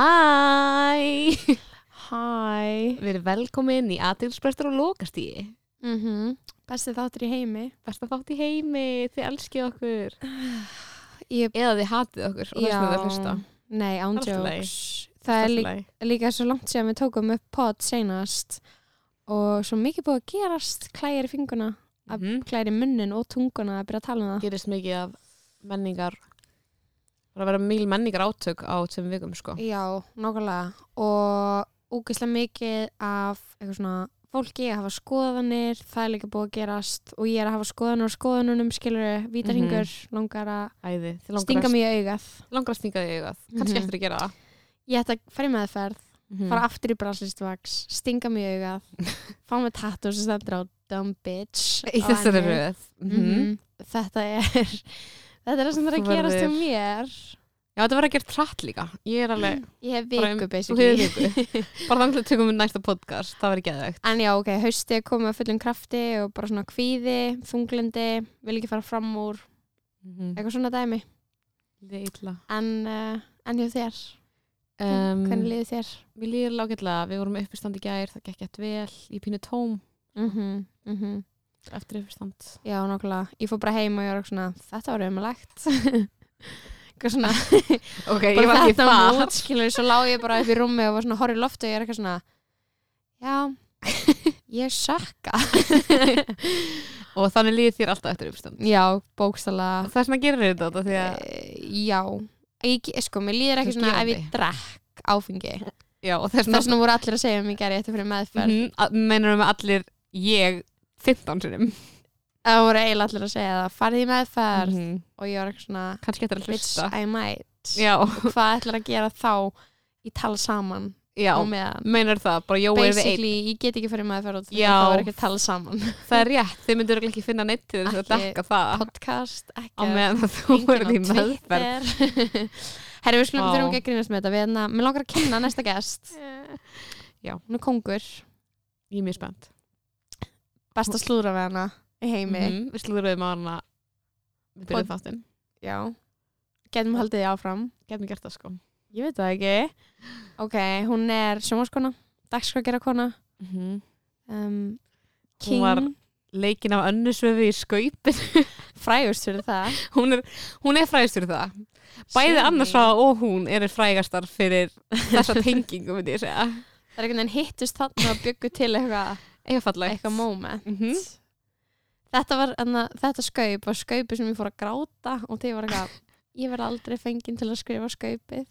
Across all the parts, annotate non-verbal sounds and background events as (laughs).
Hæ! Hæ Við erum velkomin í aðtilsprestur og lokastíi. mm Mhm. Besti þáttur í heimi Besta þátt í heimi, þið elskið okkur. Ég Eða þið hatið okkur og þess að það hlusta. Nei, Allt í lagi. ándjóks Það er Allt líka, í lagi. líka svo langt sem við tókum upp pod seinast og svo mikið búið að gerast klæjar í finguna, að- Mhm. klæjar í munnin og tunguna að byrja að tala um það Gerist mikið af menningar, það er að vera mjög menningar átök á tveim vikum sko. Já, nákvæmlega og úkislega mikið af eitthvað svona fólki að hafa skoðanir, það er líka búið að gerast og ég er að hafa skoðanur og skoðanunum skilur vítarhingur, Mhm. langar að Æði, þið langar stinga að- mig í augað. langar að stinga þig í augað. Kannski Mhm. eftir að gera það. Ég ætti að fara í meðferð, Mm fara aftur í braslistvax, stinga mig í augað, (laughs) fá mig tattu sem stendur á dumb bitch. Í á þessari henni. röð. Mm Mhm. Þetta er, þetta er það sem það er að Þú gerast hjá verður- mér. Já, þetta verður að gera trætt líka. Ég er alveg, Ég hef Bara um- viku þú basically. hefur viku. (laughs) Bara þannig að tökum við næsta podcast, það verður geðvegt. En já, ok, hausti er komið að fullum krafti og bara svona kvíði, þunglindi, vil ekki fara fram úr, Mhm. eitthvað svona dæmi. Líðið illa. En, uh, en hjá þér, Um, hvernig liði þér? Mér líður lágætlega, við vorum uppistand í gær, það gekk eftir vel, ég pínu tóm Mm -hmm, eftir uppistand. Já, nokkulega. Ég fór bara heim og ég var svona, þetta var umlegt. (laughs) eitthvað svona, Ok, bara þetta mút, skilur, svo lág ég bara upp í rúmi og var svona horrið loftu og ég er eitthvað svona, (laughs) já, ég sökka. Og þannig líður þér alltaf eftir uppistand. já, bókstala. Það er svona að gera þetta þetta því að, Eh, Já, ég, ge- sko, mér líður ekki Þú svona ef gefandi. ég drekk áfengi já, og það er þess svona, vegna voru allir að segja um ég gerði þetta fyrir meðferð Mhm, að- meinar við með allir ég 15 sinum. það voru eiginlega allir að segja það farið í meðferð Mhm. og ég var ekki svona Kannski eftir að bitch hlusta. I might Já, hvað ætlar að gera þá í tala saman já, á meðan meinar það, bara Jói er við einn. basically ég get ekki farið í meðferð og Já. það var ekki að tala saman (laughs) Það er rétt, þið myndur örugglega ekki finna neitt til þess að Ekki dekka það podcast á ekki meðan að þú enginn verður í á meðferð. Twitter. (laughs) Herri, við skulum Vá. þurfum ekki að grínast með þetta Við hérna, mér langar að kynna (laughs) næsta gest Hún er kongur, Ég er mjög spennt. best að slúra við hana í heimi Mhm, Við slúður við maður að við byrjum Pod- þáttinn. Já. Getum haldið því áfram. Getum gert það sko. Ég veit það ekki. Ok, hún er sjónvarskona, dagskraggerakona, Mhm. um, king, var- Leikin af önnusvefi í skaupin. (laughs) frægust fyrir það. hún er, hún er frægist fyrir það. Bæði Sjóni. annars ráða og hún eru frægastar fyrir þessa tengingu, myndi ég segja. (laughs) Það er einhvern veginn hittust þarna og byggu til eitthvað, Eitthvað fallegt. eitthvað moment. Mhm. Þetta var, enna, þetta skaup var skaupi sem ég fór að gráta og þegar var (laughs) eitthvað, ég verð aldrei fenginn til að skrifa skaupið.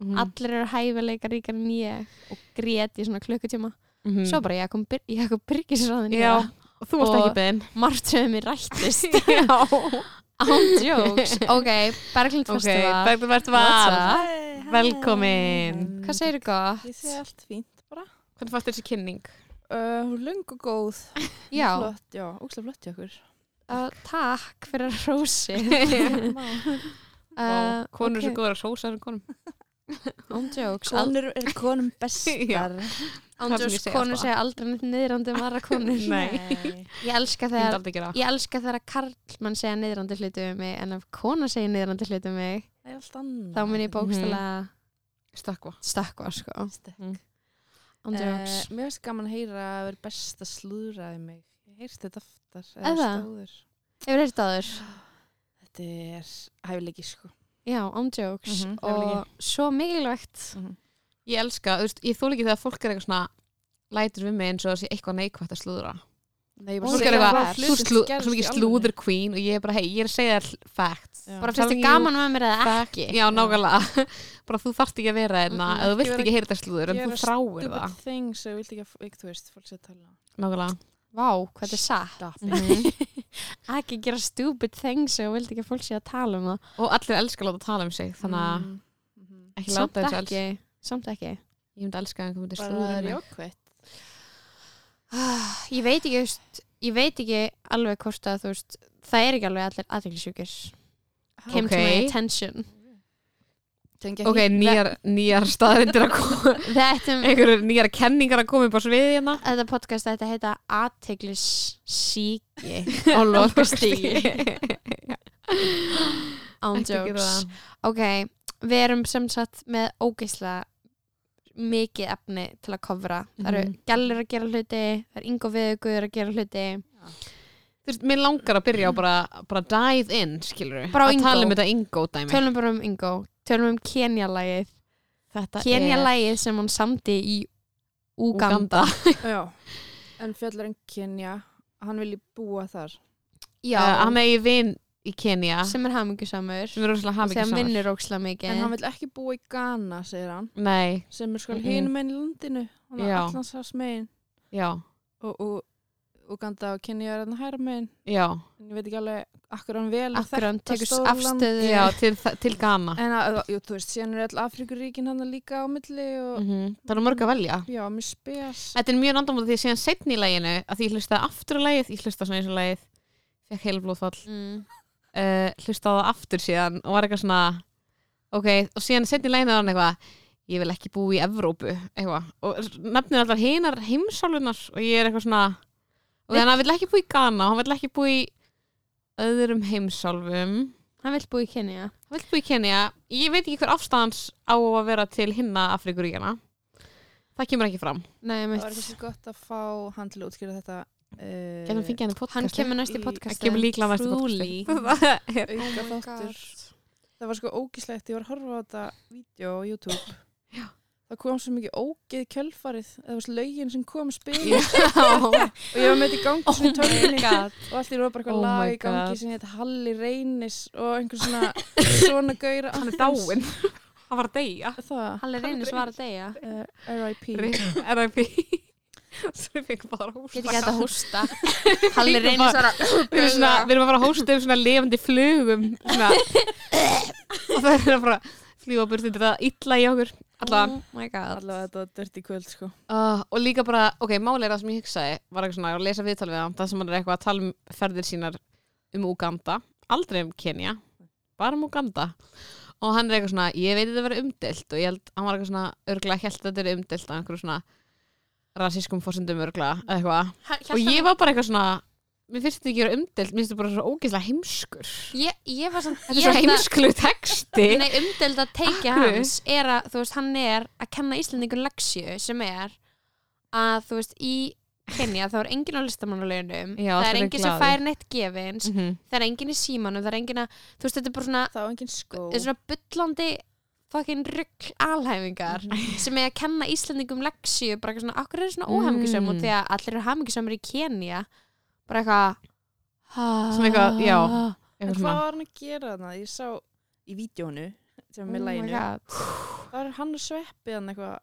Mhm. Allir eru hæfileika ríkar en ég og grét í svona klukkutíma. Mhm. Svo bara Jakob Bir- Jakob Birgis ráðin í Já, það. og þú varst Og- ekki (laughs) beðin. Margt höfum mér rættist. (laughs) Já. Án jokes. Ok, Berglind Ok, Festival. Bergdur What's Vertvar. Velkomin. Hvað segir þú gott? Ég segi allt fínt bara. Hvernig fannst þessi kynning? Uh, hún er lung og góð. Já, Flott, já, ógslag flott hjá okkur. uh, takk fyrir (laughs) Uh, rósi. Vá, konur okay. svo góður að sósa þessum konum. Án jokes. al- Konur er konum (laughs) bestar. Án hvað sem ég jokes, segi konur alltaf. segja aldrei neitt niðrandi um aðra konur. Nei. Ég elska Ég myndi þegar, aldrei gera það. ég elska þegar að karlmann segja niðrandi hluti um mig en ef kona segja niðrandi hluti um mig Það er allt annað. þá mun ég bókstala Stakva. stökkva, sko. Stek. Mm. Án jokes. Eh, mér finnst gaman að heyra að vera best að slúðraði mig. Ég heyrst þetta aftar. Eða? Stóður. Hefur þetta aður? Þetta er hæfileiki sko. Já, án jokes. Mhm, Og svo mikilvægt. Ég elska, þú veist, ég þól ekki þegar fólk er eitthvað svona lætur við mig eins og það sé eitthvað neikvægt að slúðra. Nei, bara Svo segja er bara eitthvað, hluti þú slú, svo mikið slúður queen og ég er bara, hei, ég er að segja þér facts. Já. Bara Telling finnst þið you gaman með mér eða ekki? Já, nákvæmlega. (laughs) bara þú þarft ekki að vera þeirna, Mm-mm. eða þú vilt Ekki ekki heyra þetta slúður, en gera þú þráir Stupid það. things, ég vilt ekki að, ekki, þú veist, fólk sé að tala. um. Mm-hmm. Nákvæmlega. Vá, hvað þetta er satt. Stop it. Mhm. Ekki gera stupid things og vildi ekki að fólk sé að tala um það. (laughs) og allir elskar að láta tala um sig, þannig að Mm, mhm. ekki láta þess að ekki. Samt ekki. ég myndi elska að einhver myndi Bara það slúður er mig. jákvætt. Ah, Ég veit ekki, þú veist, ég veit ekki alveg hvort að þú veist, það er ekki alveg allir aðeinsjúkir. Came to my Ok. attention. Ok, nýjar, nýjar staðrindir að koma, (laughs) Við ættum, einhverjur nýjar kenningar að koma upp á sviðið hérna. (laughs) þetta podcast ætti að heita (laughs) aðeiglisíki á (laughs) lokastigi. án Ekki gera jokes. það. Ok, við erum sem sagt með ógeislega mikið efni til að kofra. Það eru Mhm. gælur að gera hluti, það er yngo viðugur að gera hluti. Þú veist, mér langar að byrja á bara, bara dive in, skilur Bara á Að tala Ingó. um þetta Ingo dæmi Tölum bara um yngo, tölum um Kenya-lægið. Þetta Kenya-lægið sem hún samdi í Uganda. Uganda Já. En fjallar en Kenya, hann vilji búa þar. Já, Uh, Hann eigi vin í Kenya sem sem er hamingjusamur. er rosalega Þegar hamingi hann saman vinnur ógeislega mikið. En hann vil ekki búa í Ghana, segir hann, Nei, sem er skal Mhm. mm -hmm. hinn meginn í landinu. Hann er Já. allans hans meginn. já, Og, og Uganda og Kenya er hann hæra meginn. já, En ég veit ekki alveg akkur hann vel Akkur hann þetta tekur stóra land. afstöðu. já til, til Ghana En að, jú, þú veist, síðan er all Afrikuríkin hann líka á milli og mm Það er mörg að velja já, mér spes. Þetta er mjög náttúrulega því að síðan setni í læginu að því ég hlustaði aftur á lægið, ég hlustaði svona eins og lægið fekk heilblóðfall Mm. uh, hlustaði á það aftur síðan og var eitthvað svona ok, og síðan setni í læginu var hann eitthvað ég vil ekki búa í Evrópu eitthvað, og nefnir allar hinar heimsálunar og ég er eitthvað svona og þannig að hann vil ekki búa í Ghana og hann vil ekki búa í öðrum heimsálfum Hann vil búa í Kenya. hann vil búa í Kenya ég veit ekki hver afstæðans á að vera til hinna Afrikuríkjana það kemur ekki fram Nei, Það var mitt. kannski gott að fá hann til að útskýra þetta uh, Getum fengið hann í Hann podcasti kemur næst í Í- podcasti. Hann kemur líklega næst í Truly. podcasti auka Oh my þáttur Það var sko ógislegt, ég var að horfa á þetta vídeo á YouTube (laughs) Já. Það kom svo mikið ógið kjölfarið Það var svo lögin sem kom spil Já. (laughs) og ég var með þetta í gangi sem tölvinni og allt í rúið bara eitthvað Oh lag my í gangi God. sem heit Halli Reynis og (laughs) einhver svona svona gauðra (laughs) hann er (laughs) dáinn hann var að deyja (laughs) Það, Halli reynir svara degja. uh, R.I.P. (laughs) R.I.P. svo við fengum bara hósta Get ekki hægt að hósta. (laughs) Halli Líka reynir svara. við erum, svona, við erum að fara að hósta um svona levandi flugum svona. og það er að fara að fljúa burti þetta er illa í okkur allan Oh my god. Allavega þetta var dörti kvöld sko uh, og líka bara, ok, máli er það sem ég hugsaði var eitthvað svona, ég var að lesa viðtal við hann það sem hann er eitthvað að tala um ferðir sínar um Uganda, aldrei um Kenya bara um Uganda og hann er eitthvað svona, ég veit þetta verið umdelt og ég held, hann var eitthvað svona, örglega held að þetta er umdelt á einhverju svona rasískum fórsendum örglega, eða eitthvað og hérna- ég var bara eitthvað svona mér finnst þetta ekki að vera umdelt, mér finnst þetta bara svo ógeðslega heimskur Ég, ég var samt þetta er svo heimsklu texti Nei, umdeld að teikja Akkur? hans er að, þú veist, hann er að kenna Íslandingur leksju sem er að, þú veist, í Kenya þá er enginn á listamannulegunum Já, það allir er eru enginn sem glaðir. fær neitt gefins mm -hmm. það er enginn í símanum, það er enginn að þú veist, þetta er bara svona, Það var engin skó þetta er svona bullandi fucking rugg alhæfingar (laughs) sem er að kenna Íslandingum leksju bara eitthvað svona, okkur er svona Mm. óhamingisöm og því að allir eru hamingisamur í Kenya bara eitthvað Svona eitthvað, já, En eitthvað hvað svona var hann að gera þarna? Ég sá í vídjónu sem er með Oh my læginu god. Það var hann að sveppi hann eitthvað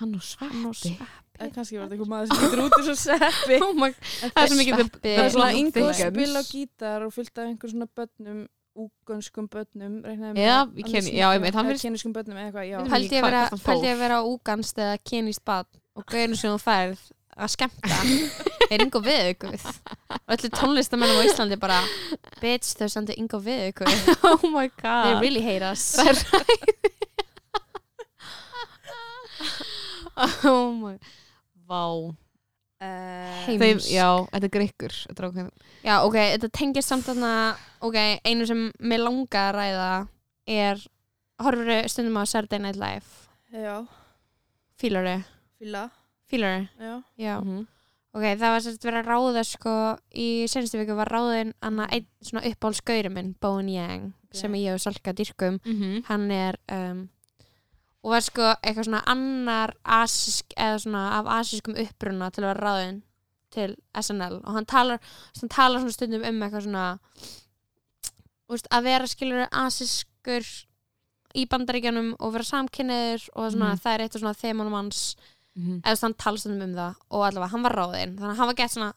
hann og sveppi eða kannski var þetta eitthvað maður sem getur út eins og sveppi (laughs) Oh my- En það er svo mikið Sveppi. það það er svona langt yngur þingans. spil á gítar og fyllt af einhver svona bönnum úgönskum bönnum Eða í Keni- já, einmitt, hann finnst- Keniskum bönnum eða eitthvað, já Við Pældi ég Hvað- að vera- hvert hann fór? pældi ég að vera á úganst eða kynist bad (laughs) og gauðinu sem þú færð að skemmta er yngo við ykkur og öllu tónlistamennum á Íslandi bara bitch þau sendu yngo við ykkur (laughs) oh my they god really hate us það er (laughs) ræði oh my vá Eh, Heim. Þeim, Heimsk. já, þetta er grikkur þetta er ákveðin- já ok, þetta tengist samt þarna ok, einu sem mér langar að ræða er horfuru stundum á Saturday Night Live Já, fílari, fíla fílari Já, já Mhm. Ok, það var sérst verið að ráða sko í senstu viku var ráðin annað einn svona uppáhaldsgaurum minn, Bowen Yang sem ég hef salka dyrkum Mhm. hann er um, og var sko eitthvað svona annar asisk, eða svona af asískum uppruna til að vera ráðin til SNL og hann talar, hann talar svona stundum um eitthvað svona úst, að vera skilur asískur í bandaríkjanum og vera samkynniður og svona, Mhm. það er eitt af svona þemanum hans Mhm. eða þannig tala stundum um það og allavega hann var ráðinn þannig að hann var gett svona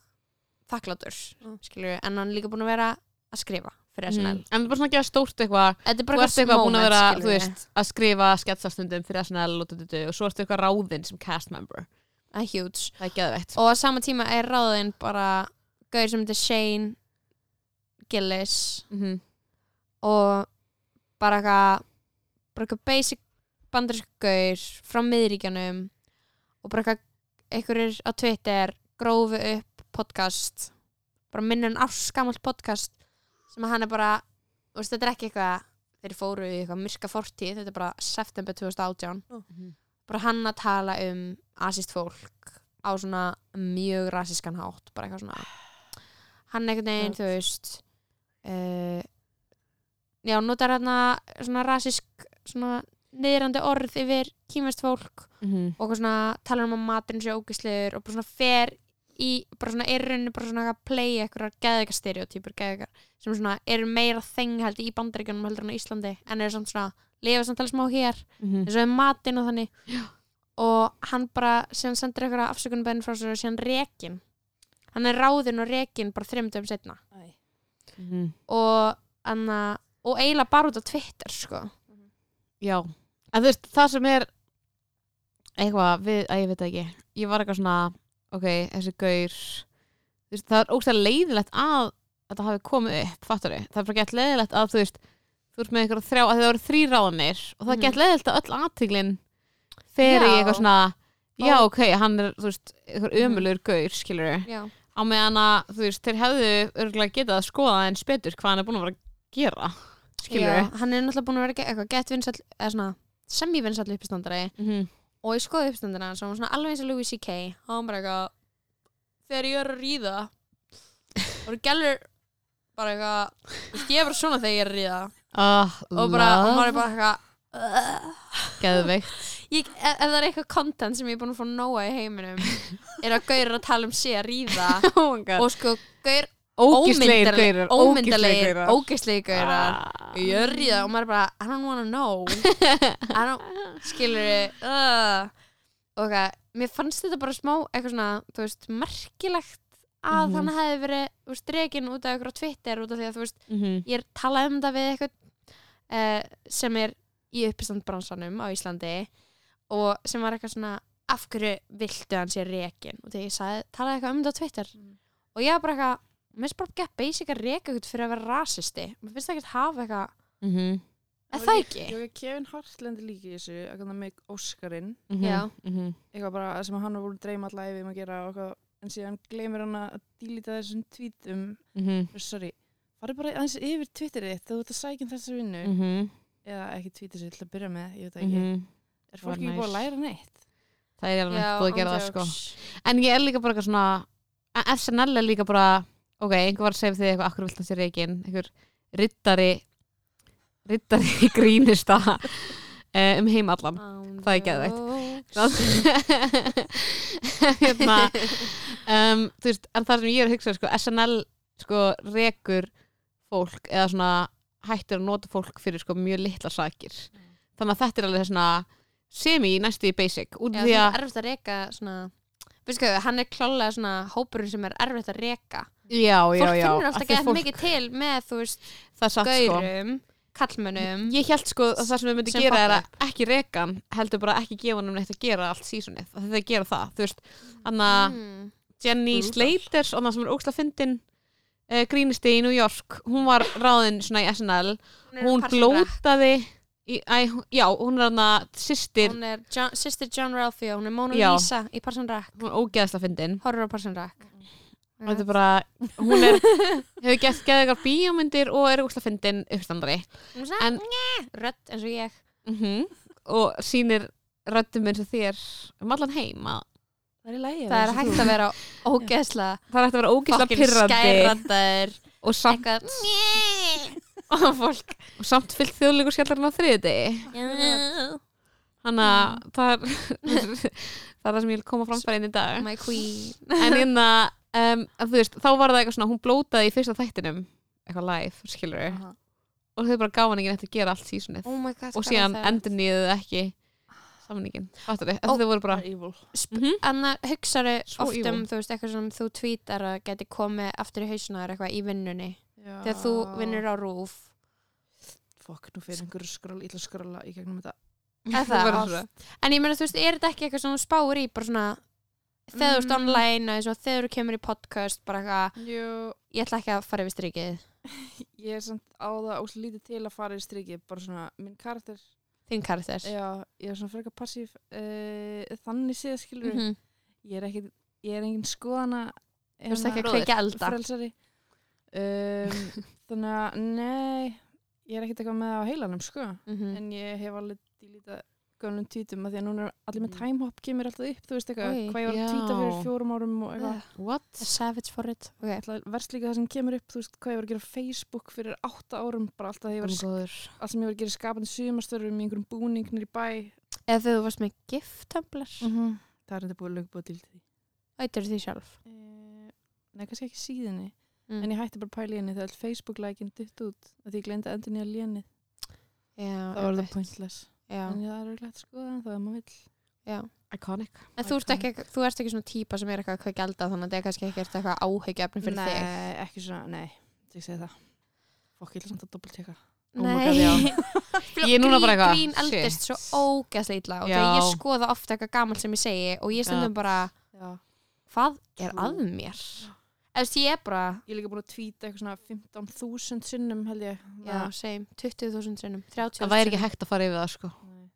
þakklátur Mm. skilur við, en hann er líka búin að vera að skrifa fyrir SNL Mm, en það er bara svona að gera stórt eitthvað Þetta er Mm. þú bara ert eitthvað búin að moment, vera, skilur þú við. veist, að skrifa sketsastundum fyrir SNL og, du- du- du- og svo ertu eitthvað ráðinn sem cast member Það er huge það er geðveitt og á sama tíma er ráðinn bara gauður sem heitir Shane Gillis Mhm. og bara eitthvað bara eitthvað basic bandarísk gaur frá miðríkjanum og bara eitthvað einhverjir á Twitter grófu upp podcast bara minnur en áskamalt podcast sem að hann er bara þú veist, þetta er ekki eitthvað þeir fóru í eitthvað myrka fortíð, þetta er bara september 2018 Mhm. bara hann að tala um asist fólk á svona mjög rasískan hátt bara eitthvað svona hann einhvern veginn, Já. þú veist uh, já, notar hann svona rasísk svona neyðrandi orð yfir kýmest fólk Mhm. og eitthvað svona talar um að maturinn sé ógislegur og bara svona fer í bara svona er í rauninni bara svona að playa eitthvað geðvika stereotypur geðvika sem svona eru meira þenghald í bandaríkjunum heldur en á Íslandi en eru samt svona lifa samtala smá hér Mhm. eins og um matinn og þannig Já. og hann bara síðan sendir eitthvað afsökunbenn frá sér og síðan rekin hann er ráðinn og rekin bara þreim dögum setna Æ. Mhm. og, anna, og eiginlega bara út á Twitter sko Já, en þú veist, það sem er eitthvað, við, að ég veit það ekki ég var eitthvað svona, ok, þessi gaur þú veist, það er ógstæðlega leiðilegt að þetta hafi komið upp, fattar það er bara gett leiðilegt að þú veist þú ert með eitthvað þrjá, að það voru þrý ráðanir og það er Mhm. gett leiðilegt að öll aðtíklin fer í Já. eitthvað svona já, Ó. Mhm. ok, hann er, þú veist, eitthvað ömulur gaur, skilur Já. á meðan að, þú veist, þeir hefðu örgulega getað að skoða eins betur hvað hann er búin að vera að gera, skilur Já, hann er náttúrulega búin að vera ge- eitthvað gett vinsall eða svona semi-vinsall uppstandari Mhm. og ég skoði uppstandina hans og hann var svona alveg eins og Louis C.K. og hann bara eitthvað þegar ég er að ríða og hann gælur bara eitthvað þú veist, ég er bara svona þegar ég er að ríða Ah, og bara, og love. maður er bara eitthvað "Ugh." Geðveikt. ég, e, ef, ef það er eitthvað content sem ég er búin að fá nóa í (laughs) heiminum er að gaur að tala um sig að ríða Oh my god. og sko gaur Ógíslegir gaurar. ómyndarlegir, gaurar. ógeðslegir gaurar Ah. ég er í það og maður er bara I don't wanna know I (laughs) don't, skilur þið uh. ok, mér fannst þetta bara smá eitthvað svona, þú veist, merkilegt að Mhm. hann hefði verið þú veist, rekin út af ykkur á Twitter út af því að þú veist, Mhm. ég er talað um þetta við eitthvað uh, sem er í uppistandbransanum á Íslandi og sem var eitthvað svona af hverju viltu hann sé rekin og þegar ég sagði, talaði eitthvað um þetta á Twitter Mhm. og ég var bara eitthvað, mér finnst bara gett basic að reka eitthvað fyrir að vera rasisti mér finnst það ekkert hafa eitthvað Mhm. Er það ekki? Ég hef Kevin Hartland er líka í þessu, að kannan með Óskarinn, Mhm. Já. Mhm. eitthvað bara sem hann var búin að dreyma allæfi um að gera og eitthvað, en síðan gleymir hann að dílita þessum tweetum, Mhm. sorry, farið bara aðeins yfir Twitterið þegar þú ert að sækja um þessa vinnu, Mhm. eða ekki Twitterið til að byrja með, ég veit það ekki, Mhm. er fólk Var ekki búin nice. að læra neitt? Mhm, Það er alveg ekki búið að án gera það sko. jokes. En ég er líka bara eitthvað svona e, en SNL er líka bara ok, einhver var að segja við þig eitthvað akkur vilt að sér reygin einhver rittari rittari (laughs) í grínista eh, um heim (laughs) allan (laughs) Það er geðveikt. (laughs) hérna um, þú veist, en það sem ég er að hugsa sko, SNL sko rekur fólk eða svona hættir að nota fólk fyrir sko mjög litla sakir Mm. þannig að þetta er alveg svona semi næstu í basic út Já, af það því er að erfitt að reka svona Vistu, hann er klálega svona hópurinn sem er erfitt að reka já, já, fólk já, finnur af alltaf því að gett fólk- mikið til með þú veist, það er satt sko gaurum, kallmönnum ég held sko að það sem við myndum Sem gera er pop-up. að ekki reka hann heldur bara ekki gefa hann um neitt að gera allt sísunni þegar þeir gera það, þú veist hann að mm. Jenny Brutal. Slater og það sem er óksla fyndin uh, grínisti í New York hún var ráðin svona í SNL hún Parks and Rec. blótaði í, æ, hún- já, hún er hann að sýstir hún er John, sýstir John Ralphio hún er Mona Já. Lisa í Parson Rack hún er ógeðsla fyndin horror á Parson Rack og þetta er bara, hún er hefur gett geðið eitthvað bíómyndir og er óksla fyndin uppstandari hún er svona en- "Nye", rödd eins og ég mm Mhm. og sýnir röddum eins og þér um allan heim að Það er í lægi. það er hægt að vera (laughs) ógeðsla það er hægt að vera ógeðsla pyrrandi skærrættar og samt, eitthvað "Nye", og fólk (laughs) og samt fyllt þjóðlegu skallarinn á þriðdegi "Yeah, þannig að það er (laughs) það er það sem ég vil koma framfærin í dag my queen en hérna um, að þú veist, þá var það eitthvað svona hún blótaði í fyrsta þættinum eitthvað live, skilur Aha. og þau bara gaf hann ekki neitt að gera allt sísunnið oh my god og síðan endur niður ekki samningin, fattur þau, Ó, þau voru bara Það er evil. mhm, Anna, hugsaðu Svo oft evil. um þú veist, eitthvað sem þú tweetar að geti komið aftur í hausunar eitthvað í vinnunni þegar þú vinnur á rúf Fokk, nú fyrir einhverju skról, illa skróla í gegnum þetta. Er Þú það verður oft? en ég meina, þú veist, er þetta ekki eitthvað sem þú spáir í bara svona, þegar þú ert Mm. online og þegar þú kemur í podcast bara eitthvað, Jú, ég ætla ekki að fara yfir strikið ég er samt á það og lítið til að fara í strikið, bara svona, minn karakter, þinn karakter já, ég er svona frekar passív, uh, þannig séð skilur, Mhm. ég er ekki, ég er engin skoðana, hérna, þú veist ekki að Bróðir. kveikja elda (laughs) frelsari. Um, þannig að, nei, ég er ekkert eitthvað með það á heilanum sko Mhm. en ég hef alveg dílítað gönnum tvítum að því að núna er allir með Mm. timehop kemur alltaf upp, þú veist eitthvað, Oj, hvað ég var að tvíta já. fyrir fjórum árum og eitthvað What? The savage for it okay. Alltaf verst líka það sem kemur upp, þú veist, hvað ég var að gera á Facebook fyrir átta árum, bara alltaf þegar ég var, Góður. allt sem ég var að gera í skapandi sumastörfum í einhverjum búningnir í bæ. eða þegar þú varst með giftemplar mm. -hmm. Það er enda búið löngu búið til því. ættir því sjálf E Nei, kannski ekki síðinni, Mm. en ég hætti bara að pæla í henni þegar Facebook-lækin dutt út, að því ég glemdi endur nýja lénið, já, þá var það einmitt. pointless. já, En það er auðvitað að skoða það, maður vill. já. Iconic. en þú ert, ekki, þú ert ekki svona típa sem er eitthvað hvað gælda þannig að það er kannski ekki eitthvað áhyggjefni fyrir nei, þig ekki svona, nei, þú segir það. Fokk, ég ætla samt að doppeltjekka. Oh my God, já. (laughs) Ég er núna bara eitthvað, grín eldist shit. svo ógæðslega illa og Já. þegar ég skoða ofta eitthvað gamalt sem ég segi og ég Gat. stundum bara Já. hvað er Trú. að mér eða þú veist, ég er bara Ég er líka búin að tvíta eitthvað svona 15.000 sinnum held ég. já, segjum, 20.000 sinnum 30.000 Það væri ekki sinnum. hægt að fara yfir það sko. Nei.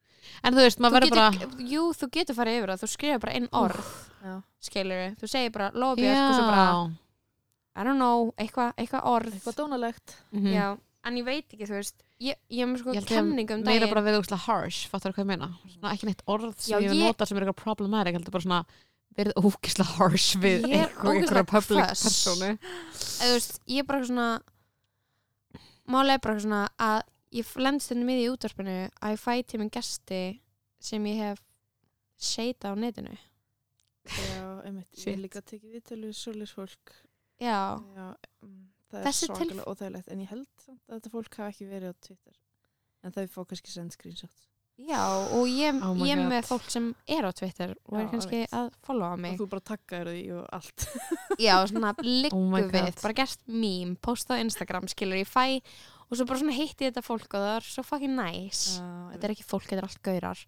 En þú veist, Þú maður verður bara getur, jú, þú getur farið yfir það, þú skrifir bara einn orð Já. skilur við, þú segir bara lofbjörk og sko, svo bara, Já. I don't know, eitthvað eitthva orð Eitthvað dónalegt. Mhm. já, en ég veit ekki, þú veist ég, ég er með Ég sko held ég kemning um meira daginn bara verið úrslega harsh, fattar hvað ég meina svona, ekki neitt orð sem Já, ég, ég- ég nota sem er eitthvað problematic, heldur bara svona verið ógislega harsh við Ég er einhver- ógeðslega einhverja public hvöss. personu eða, þú veist, ég er bara svona málega er bara svona að ég lend stundum í því í útvarpinu að ég fæ til minn gesti sem ég hef seita á netinu Já, einmitt. Ég Shit. hef líka tekið viðtölu við svolis fólk. já, Já, mm, það Þessi er tilf- svakalega óþægilegt. En ég held samt að þetta fólk hafi ekki verið á Twitter. En það fá kannski send screenshot. já og ég, Oh my ég er God. með fólk sem er á Twitter og Já, er kannski einmitt. að followa mig Og þú bara takkaður því og allt. já, (laughs) svona liggu Oh my God. við, bara gerst mím posta á Instagram, skilur ég fæ og svo bara svona hitti ég þetta fólk og það er svo fucking nice þetta er ekki fólk, þetta er allt (laughs) gaurar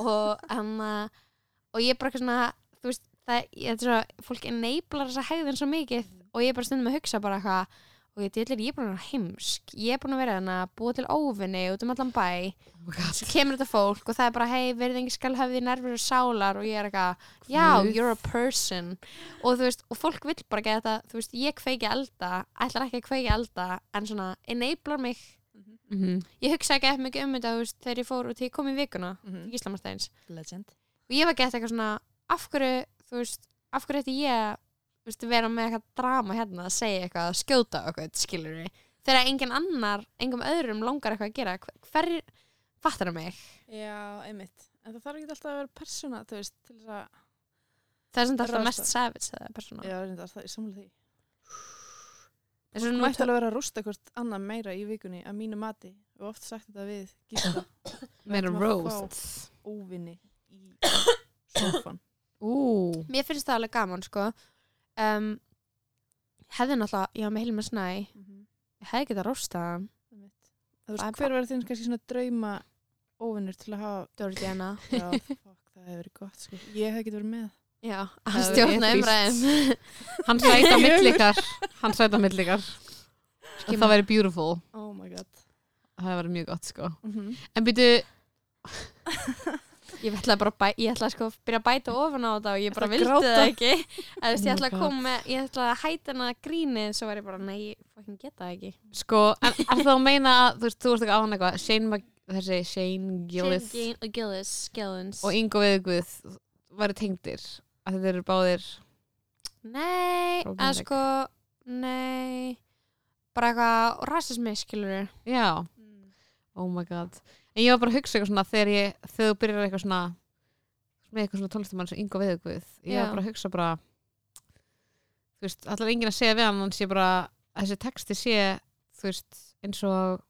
og, en, uh, og ég er bara eitthvað svona þú veist, það, ég, þetta er svo, fólk enablar þessa hegðin svo mikið og ég er bara stundum að hugsa bara eitthvað og ég dýrlir, ég er búin að vera heimsk ég er búin að vera hérna að búa til óvinni út um allan bæ, oh my god, svo kemur þetta fólk og það er bara, hei, verðingi skal hafa því nervur og sálar og ég er eitthvað, já, Guð. you're a person og þú veist, og fólk vill bara geta þetta, þú veist, ég kveiki elda ætlar ekki að kveiki elda, en svona enablar mig, Mhm. ég hugsa ekki eftir mikið um þetta, þú veist, þegar ég fór og til ég kom í vikuna (laughs) Mhm. Gíslamarsteins Legend. og ég var gett eitthvað svona af hverju, þú veist, af hverju ætti ég að þú veist, vera með eitthvað drama hérna að segja eitthvað, að skjóta á eitthvað skilur við, þegar engin annar engum öðrum langar eitthvað að gera hver, hver fattar það mig, Já, einmitt. En það þarf ekki alltaf að vera persóna, þú veist, til þess að... það er sem þetta alltaf Ráðstafað. mest savage það er persóna, Já, reyndar, það er samlega því. eins og Þú nú mætti alveg vera að rústa hvort annað meira í vikunni að mínu mati. Við hef oft sagt þetta við (coughs) gísla meira ætlum að roast óvinni í (coughs) sofan. ú, mér finnst það alveg gaman sko um, hefði náttúrulega, já með heilum að snæ Mm ég hefði getað róstað hann, Einmitt. Það Þú er veist, hver verður þinn kannski svona drauma óvinnur til að hafa Georgiana já, (laughs) fuck, það hefur verið gott sko. ég hef ekki verið með já, Það hann er stjórna trist. umræðum (laughs) hann sæta (laughs) millikar hann sæta millikar það væri beautiful, oh my god það væri mjög gott sko mm en byrju, Ég ætlaði bara að bæ, ég ætlaði sko að byrja að bæta ofan á þetta og ég bara Ertu að vildi gráta? það ekki eða þú veist Oh my ég ætlaði að God. koma með, ég ætlaði að hæta hana grínið svo var ég bara, nei, ég fucking geta það ekki sko en er það að meina að þú veist, þú veist ekki á hann eitthvað Shane, Mag- þessi Shane Gillis Shane Gil- Gillis, Gillins og Ingo Veðguð væri tengdir að þeir eru báðir Nei, eða Problematic. sko, nei bara eitthvað, rasismi skilur já, oh my god en ég var bara að hugsa eitthvað svona þegar ég þegar þú byrjar eitthvað svona með eitthvað svona tónlistamann sem Ingo Veðguð ég Já. var bara að hugsa bara þú veist, allar enginn að segja við hann hann sé bara, að þessi texti sé þú veist, eins og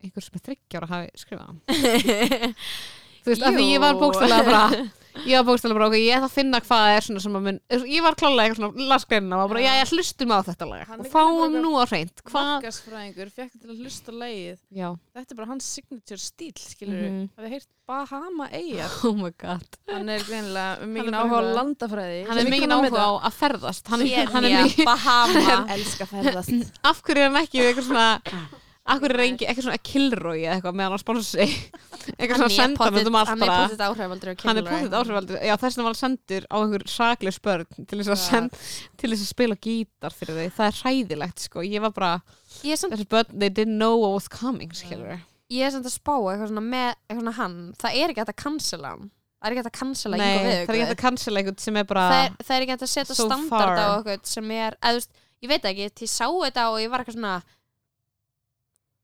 einhver sem er þryggjára hafi skrifað hann þú veist, af því ég var Jú. bókstælega bara ég var bókstælega bara, ok, ég ætla að finna hvað það er svona sem að mun, ég var klálega eitthvað svona lasgreinina, var bara, já, Já. já, hlustum á þetta lag Hann og er fáum bara- nú á hreint hvað, markasfræðingur fekk til að hlusta lagið já, þetta er bara hans signature stíl skilur við Mhm. hafið heyrt Bahama Eyjar oh my god hann er greinilega með mikinn bara áhuga á eitthvað- landafræði hann er mikið áhuga á að ferðast (laughs) hann er, hann er mikið, (laughs) Bahama elska ferðast Ah. af hverju er hann ekki eitthvað svona Akkur er engi, ekki svona Kilroy eða eitthvað með hann á sponsi eitthvað svona Hann er senda hann pottþétt- um allt hann er bara potið áhrifaldur hann er potið áhrifaldur, já þess vegna var hann sendur á einhver sakleus börn til þess að, Já. send, til þess að spila gítar fyrir þau það er hræðilegt sko, ég var bara ég er, samt, þessi börn, they didn't know what was coming skilur ég er samt að spá eitthvað svona með eitthvað svona hann það er ekki hægt að cancela hann það er ekki hægt Nei, að cancela það Ingvar er ekki hægt að Viðar cancela einhvern sem er bara það er, það er ekki hægt að setja Ah. So standard á far. okkur sem er, eða, þú veist, ég veit ekki ég sá þetta og ég var eitthvað svona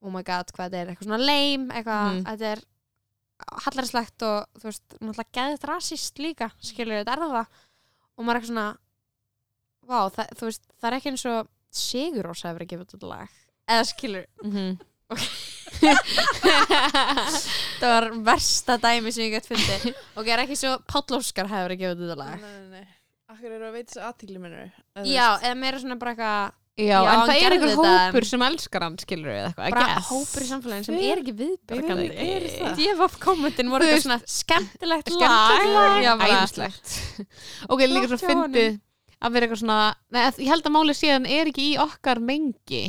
oh my god, hvað þetta er eitthvað svona lame, eitthvað, Mhm. þetta er hallarslegt og þú veist náttúrulega geðið rasist líka, skilur þetta er það og maður er eitthvað svona vá, það, þú veist, það er ekki eins og Sigur Rósa hefur gefið þetta lag eða (laughs) skilur Mhm. það var versta dæmi sem ég gett fundið og það er ekki svo Páll Óskar hefur gefið þetta lag Nei, nei, nei. Akkur eru að veita þessu aðtíli minnur. Já, eða meira svona bara eitthvað já, Já, en hann það er gerði einhver þetta, en- hópur sem elskar hann skilur eða eitthvað, I bara guess hópur í samfélaginu sem Hver er ekki viðbjargandi eru það? DFF kommentin voru Þú eitthvað veist, svona skemmtilegt lag, Já, lag bara- æðislegt (laughs) ok, líka Flott svo hjá honum. fyndið að vera eitthvað svona nei, að- ég held að málið síðan er ekki í okkar mengi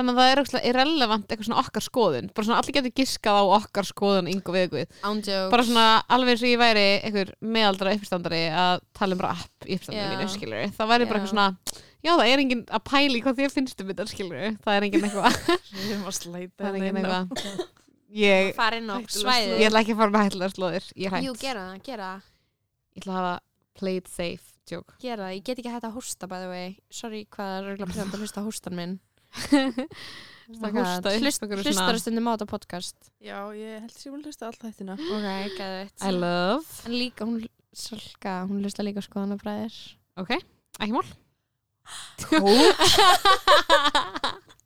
þannig að það er eitthvað irrelevant eitthvað svona okkar skoðun bara svona allir getur giskað á okkar skoðun yngu viðguð ándjóks bara svona alveg eins og ég væri einhver meðaldra uppstandari að tala um rap í uppstandari Já. mínu skilur það væri bara Já. eitthvað svona já það er enginn að pæli hvað þér finnst um þetta skilur það er enginn eitthvað (laughs) Við erum að slæta hérna það er enginn inn á- eitthvað ég, farin á Hættulega svæði ég ætla ekki að fara með hættilega slóðir ég er Jú, hætt gera það, gera það, ég ætla að hafa played safe joke gera það Ég get ekki hægt að hósta by the way Sorry hvað er örgulega present að hlusta á hóstan minn (laughs) hósta upp Hlust, einhverju svona- Hlustar að stundum á þetta podcast Já, ég held sem hún hlusta alltaf þættina. Ok, gæðið I love En líka, hún Salka, hún hlusta líka sko, á skoðanabræðir Ok, ekki mál (laughs)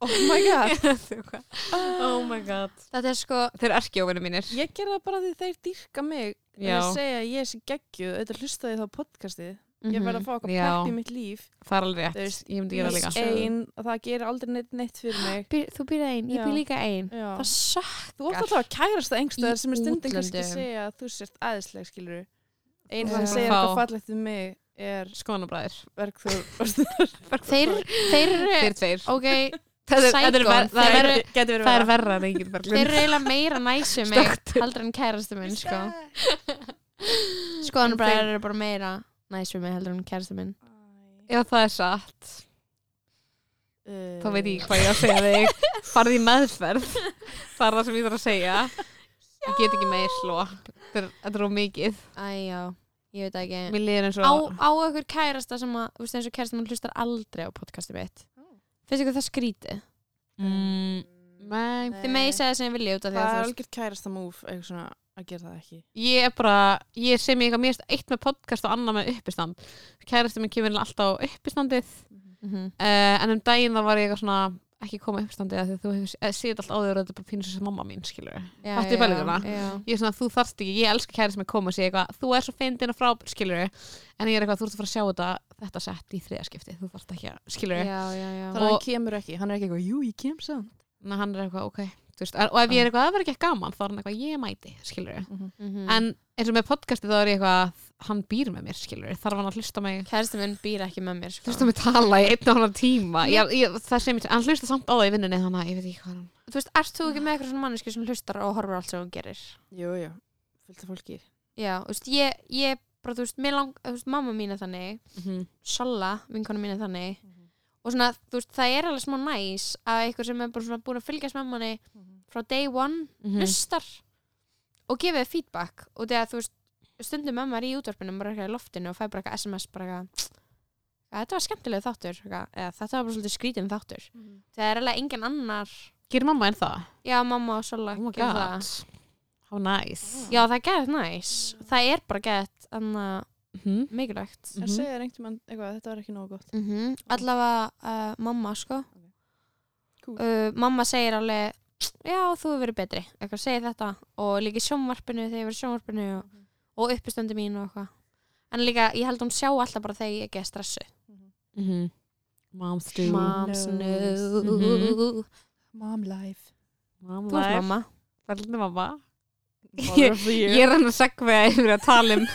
Oh my god. (laughs) Oh my god Þetta er sko Þeir eru erkjófinu mínir Ég gerði það bara því þeir dýrka mig. Já. Já. Þeir segja að ég sé geggjuð, auðvitað hlustaði þá podcastið. Mhm. Ég verð að fá eitthvað Mhm. Já. pepp í mitt líf. Það er alveg Þú veist, rétt, ég myndi gera það Ég líka er Ein, og það gerir aldrei neitt, neitt fyrir mig. Byr, Þú býr ein, ég Já. býr líka ein Já. Það sökk Þú ótt alltaf að kærast það Í einhverstaðar sem er stundin kannski að útlöndum. segja að þú sért aðeinsleg, skilur við. Einn Já. sem segir Fá. eitthvað fallegt um mig er Skoðanabræðir Bergþór. (laughs) Þeir, þeir Þeir eru tveir (laughs) Ok, Það er- þetta er Psycho. ver- það er Þeir- verra- Gæti verið það er verra en engin þeir berglund eru eiginlega meira næsum mig Stökkt. heldur en kærastu minn sko skoðan bara eru bara meira næsum mig heldur en kærastu minn Já, það er satt Uh, Þá veit ég hvað ég á að segja (laughs) þig Farði í meðferð Það er það sem ég þarf að segja Ég get ekki meir sló Þetta er- þetta er of mikið æjá, ég veit það ekki Mér líður eins á, og á okkur kærasta sem að þú veist eins og kærasta minn hlustar aldrei á podcasti mitt Ó. finnst ykkur það skrítið? Mm, Nei þið megi segja það sem ég vilja út af því að Það er þú veist algjört kærasta múf eitthvað svona að gera það ekki ég er bara, ég sem ég eitthvað mér finnst eitt með podcast og annað með uppistand kærasti minn kemur alltaf á uppistandið mhm. uh, en um daginn þá var ég eitthvað svona ekki koma á uppistandið af því að þú hefur eh, séð allt áður og þetta er bara pínur sem mamma mín skilur Já, Fattu já, pælinguna? já. ég er svona þú þarft ekki, ég elska kærasti minn koma og segja eitthvað, þú er svo fyndin og frá skilur en ég er eitthvað, þú ert að fara að sjá þetta þetta sett í þriðaskipti, þú þarft ekki að skilur já, já, já Þannig að Og- hann kemur ekki, hann er ekki eitthvað, jú ég kem samt en hann er eitthvað, ok þú veist, og ef ég er eitthvað, það verður ekki gaman þá er hann eitthvað, ég mæti, skilur Mhm. en eins og með podcasti þá er ég eitthvað hann býr með mér, skilur, þarf hann að hlusta á mig kærasta minn býr ekki með mér Þú sko veist að mig tala í einn og annan tíma ég, ég, Það sem ég, hann hlusta samt á það í vinnunni þannig að ég veit ekki hvað hann þú veist, ert þú ekki með eitthvað svona manneski sem hlustar og horfur allt sem hún gerir? Jú, jú, fylgta fólki Já, þú veist, ég, ég bara, þú veist, mér lang, þú veist, mamma mín er þannig, Mhm. Sola, vinkona mín er þannig, Mhm. og svona, þú veist, það er alveg smá næs að eitthvað sem er bara svona búin að fylgjast með manni Mhm. frá day one, hlustar og gefið feedback, og þegar, þú veist, stundum mamma er í útvarpinu, bara eitthvað í loftinu og fæ bara eitthvað SMS, bara eitthvað, "Ja, þetta var skemmtilega þáttur, eitthvað, eða þetta var bara svolítið skrítin þáttur. Mhm. Það er alveg engin annar, Gerir mamma en það? já, mamma og Sola Oh my gera það. god How nice Já, það er gett næs. Mm. Það er bara gett anna, Mhm. mikilvægt. Mhm. Það segja reyndi mann um eitthvað, þetta var ekki nógu gott Mm -hmm. Allavega uh, mamma, sko. Cool. Uh, mamma segir alveg, já, þú hefur verið betri. Eitthvað segir þetta og líka í sjónvarpinu þegar ég verið í sjónvarpinu og, Mhm. og uppistöndu mín og eitthvað. En líka, ég held hún sjá alltaf bara þegar ég ekki er stressu. Mm-hmm. Mhm. Moms do Moms knows. no. Mhm. Mom life Mom Þú ert life. mamma. Hvernig mamma Mother of the Ég year. er hann að segja yfir að tala um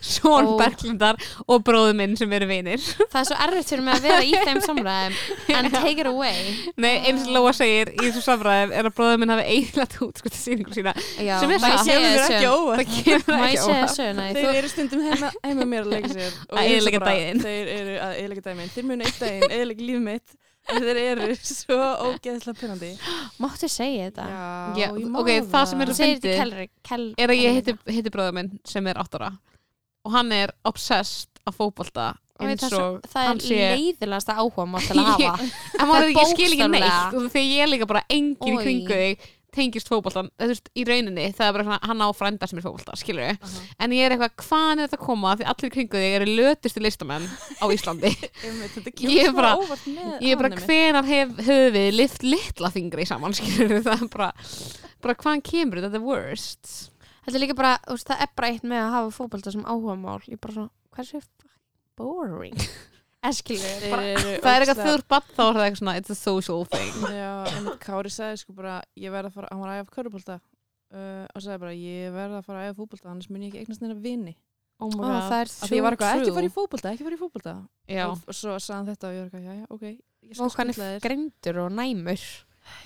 Són Ó. Berglindar og bróðu minn sem eru vinir það er svo erfitt fyrir mig að vera í þeim samræðum en take it away Nei, eins og Lóa segir í þessu samræðum er að bróðu minn hafi eiginlega út sko til síningur sína Já, Sem er má ég það. segja þér Kemur mér ekki söguna? Það óvart. kemur Má ekki ég segja óvart. söguna? Þeir Þú- eru stundum heima, (laughs) heima mér að leika sér og Að ég hugsa eyðileggja bara, daginn. Þeir eru að eiginlega daginn Þeir munu eitt daginn, eiginlega líf mitt en Þeir eru svo ógeðslega pyrrandi Máttu segja þetta? Já, Já, ok, það sem er Þú að segir þetta í fyndið kelri kel, er að ég hitti, hitti bróðu minn sem er 8 ára og hann er obsessed af fótbolta Veit, eins það, og svo, það hann er sé... leiðilegasta áhuga mál (laughs) til að Ég- hafa en maður það ég skil ekki bókstaflega. neitt og þegar ég er líka bara engin í Oj. kringu þig tengist fótboltan, eða þú veist, í rauninni það er bara svona, hann á frænda sem er fótbolta, skilur við Aha. en ég er eitthvað, hvaðan er þetta að koma því allir í kringu þig eru lötustu listamenn á (laughs) Íslandi Einmitt, Ég Þetta er kemur svo bara- óvart með ég er bara, hana mitt. hvenar hef, höfum við lift litla fingri saman, (laughs) skilur við það er bara, bara hvaðan kemur þetta, the worst Þetta er líka bara, þú veist, það er bara eitt með að hafa fótbolta sem áhuga mál Ég er bara svona, hversu fucking (laughs) boring Eskilur Þeir eru það er eitthvað ógeðslega- þurr bann, þá er það eitthvað svona it's a social thing Já, en Kári sagði sko bara ég verð að fara, hann var að æfa körubólta uh, og sagði bara, ég verð að fara að æfa fótbolta annars mun ég ekki eignast neina vini oh my Það er af því ég var eitthvað, ekki fara true í fótbolta, ekki fara í fótbolta já, og, og svo sagði hann þetta og ég var eitthvað, já, já, ok ég skal Og hann skutla er þér greindur og næmur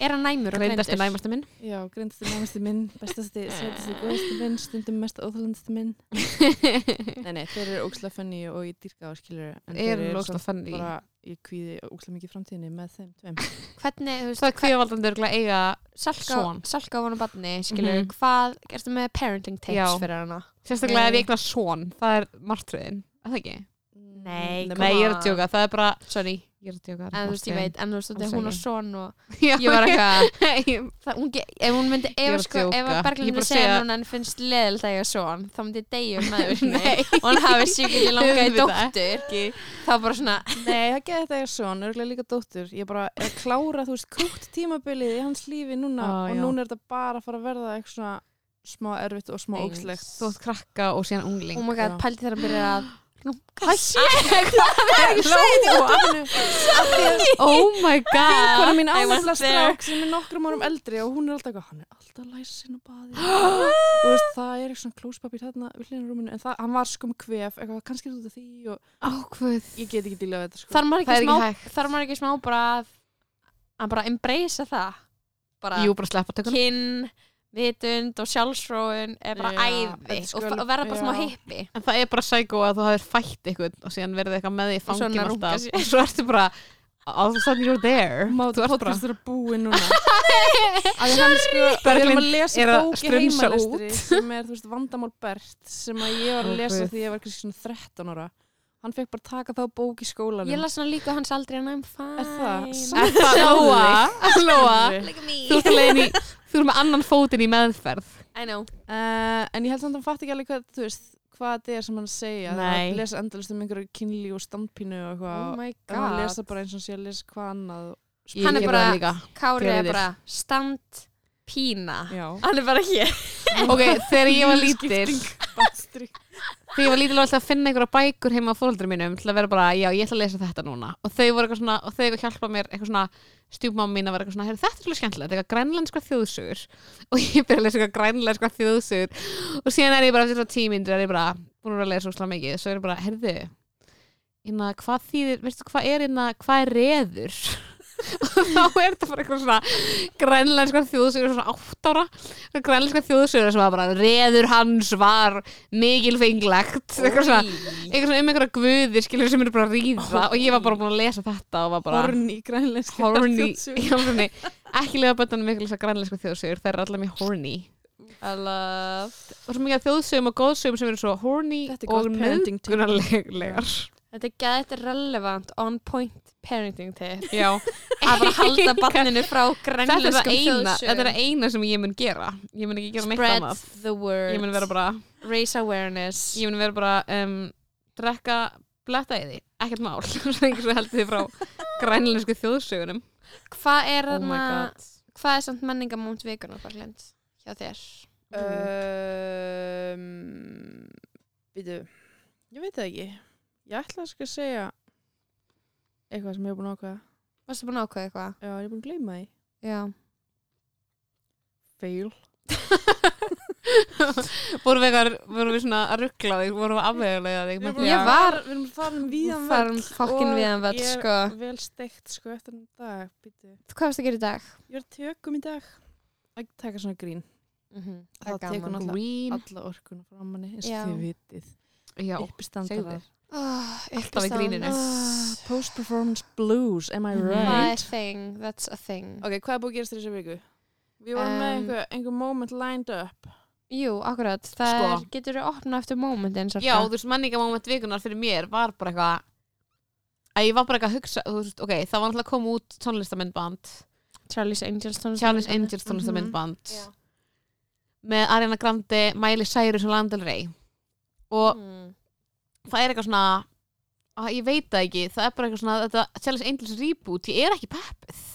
Er hann næmur og greindur? greindast er næmastu minn já, grindasti, næmasti minn, bestasti, sætasti, góðasti minn stundum mest óþalendasti minn nei, nei, þeir eru ókslega fenni og ég dýrka á skilur en er þeir eru lókslega samt fannig bara, ég kvíði ókslega mikið framtíðinni með þeim tveim Hvernig, þú veist, það er kvíðavaldandi örugglega eiga salka, son. salka á hann barni Skilur, Mhm. hvað, ertu með parenting tips Já. fyrir hana? sérstaklega Nei. ef ég eitthvað svon það er martröðin, er það ekki? Nei, Nema- Come nei, ég er on. að djóka, það er bara Sorry, ég er að djóka, en þú veist, ég veit, en þú veist, þetta Alls er hún og ekki. son og (laughs) já, Ég var (laughs) eitthvað ég- Það, hún, ge- ef hún myndi, Ég ef, var að sko, ef djóka. að Ég bara Berglind segja- segja að hún enn finnst leðilt að ég er son, þá myndi ég deyja um (laughs) meðvirkni Nei. og hann hafi sýkilega langaði Auðvitað dóttur þá bara svona, Nei, það geði þetta eitthvað svona, örgulega líka dóttur. Ég bara er að klára, þú veist, krútt tímabilið í hans lífi núna Á, og já. núna er þetta bara að fara að verða eitthvað svona smá erfitt og smá Eins. ógslegt. þú ert krakka og síðan ungling oh my god, Já. pældi þegar hann byrjar að runka oh (laughs) my Kona god mín I was ánægla there. strák sem er nokkrum árum eldri og hún er alltaf eitthvað, hann er alltaf að læsa sinna (gasps) baði. og þú veist, það er eitthvað svona klóspapir þarna við hlýðin rúminu, en það, hann var skum kvef, eitthvað, kannski er þetta því og ákvöð ég get ekki dílað við þetta, sko. (laughs) (gasps) Þarf maður Það er ekki ekki smá hægt. þarf maður ekki smá bara að að bara embracea það bara jú, bara sleppa tökunum kinn, vitund og sjálfsróun er bara Já, æði þetta sko, og, skal- og verða bara smá já. hippi En það er bara sækó að þú hafðir fætt eitthvað og síðan verðið eitthvað með því svo hann fangin að runga alltaf sér. og svo ertu bara all of a sudden you're there þú ert bara podcast er að búi (laughs) núna að hann sko við erum að Berglind lesa er að bók í strunsa heimalestri út. sem er þú veist vandamál Bert sem að ég Ó, var að lesa guð. því ég var kannski svona 13 ára hann fekk bara taka þá bók í skólanum Ég las hann líka hans aldrei en I'm fine er það Er það Lóa Lóa Sannri. Look at me. Þú ert alveg í Þú ert með annan fótinn í meðferð I know uh, en ég held samt að hann fatt ekki alveg hvað þú veist hvað þetta er sem hann segja Þegar Nei. hann lesa endalist um einhverju kynli og standpínu og Oh eitthvað my en hann god lesa bara eins og hann sé að lesa hvað annað Ég Hann er gerði bara- það líka. Kári Gerið er þér. bara stand pína já Hann er bara hér Ok, þegar ég var lítil Þegar Bastri. ég var lítil var alltaf að finna einhverja bækur heima á fóröldri mínum til að vera bara, já, ég ætla að lesa þetta núna og þau voru eitthvað svona, og þau eitthvað hjálpa mér eitthvað svona, stjúpmáma mín að vera eitthvað svona "Heyrðu, þetta er svolítið skemmtilegt, eitthvað grænlenskar þjóðsugur (laughs) og ég byrja að lesa eitthvað grænlenskar þjóðsugur og síðan er ég bara eftir svona tímindur er ég bara búin að vera að lesa úslega mikið svo er ég bara, herðu inna, hvað þýðir, veistu hvað er inna, hvað er reður (laughs) og þá er þetta bara eitthvað svona grænlenskar þjóðsugur svona átt ára og grænlenskar þjóðsugur sem var bara reður hans var mikilfenglegt eitthvað svona eitthvað svona um einhverja guðir skilur sem eru bara að ríða og ég var bara búin að lesa þetta og var bara horny grænlensk (laughs) horny í alvörunni. ekki lega bönnum mikil þessar grænlenska sko, þjóðsögur það er allar mjög horny I love og svo mikið af þjóðsögum og góðsögum sem eru svo horny Þetta er og gott parenting tip. nöðgunarlegar Þetta er gæðið relevant on point parenting tip (laughs) (laughs) já að bara halda barninu frá þetta er það sko grænlenskum eina þetta er þjóðsögum það eina sem ég mun gera ég mun ekki gera neitt Spread annað the word ég mun vera bara Raise awareness ég mun vera bara um, drekka bletta í því ekkert mál (laughs) svo lengi svo heldur þið frá grænlensku þjóðsögunum Hvað er oh my þarna god Hvað er samt menningamónt vikuna Berglind? Hjá þér Um, Býtu, ég veit það ekki. Ég ætla að sko að segja eitthvað sem ég er búin að ákveða. Varstu búin að ákveða eitthvað? Já, ég er búin að gleyma því. Já Fail. vorum við eitthvað, vorum við svona að ruggla þig, vorum við afvegulega þig með Við því Já. að- vorum far- við erum farin um víðan Við farum fucking og víðan völl, ég er sko. vel steikt sko eftir um dag býtu. Hvað varst að gera í dag? ég er á tökum í dag að taka svona grín Mhm. Það er Það tekur gaman. náttúrulega- Green, alla orkuna frá manni eins Já. og þið vitið já, uppistandarar Alltaf í gríninu. Ah, post performance blues, am I Mhm. Það er right? thing, that's a thing. ok, hvað er búið að gerast þér þessu viku? við vorum með Um, einhver, einhver moment lined up Jú, akkurat. Það Sko. er, getur þú opnað eftir mómentin. já, þú veist, menningamóment vikunar fyrir mér var bara eitthvað að ég var bara eitthvað að hugsa, þú veist, ok, það var náttúrulega að koma út tónlistamindband, Charlie's Angels tónlist. Charles Angels tónlistamindband með Ariana Grande, Miley Cyrus og Landel Rey og Mm. það er eitthvað svona að ég veit það ekki, það er bara eitthvað svona þetta Charles Angels reboot, ég er ekki peppið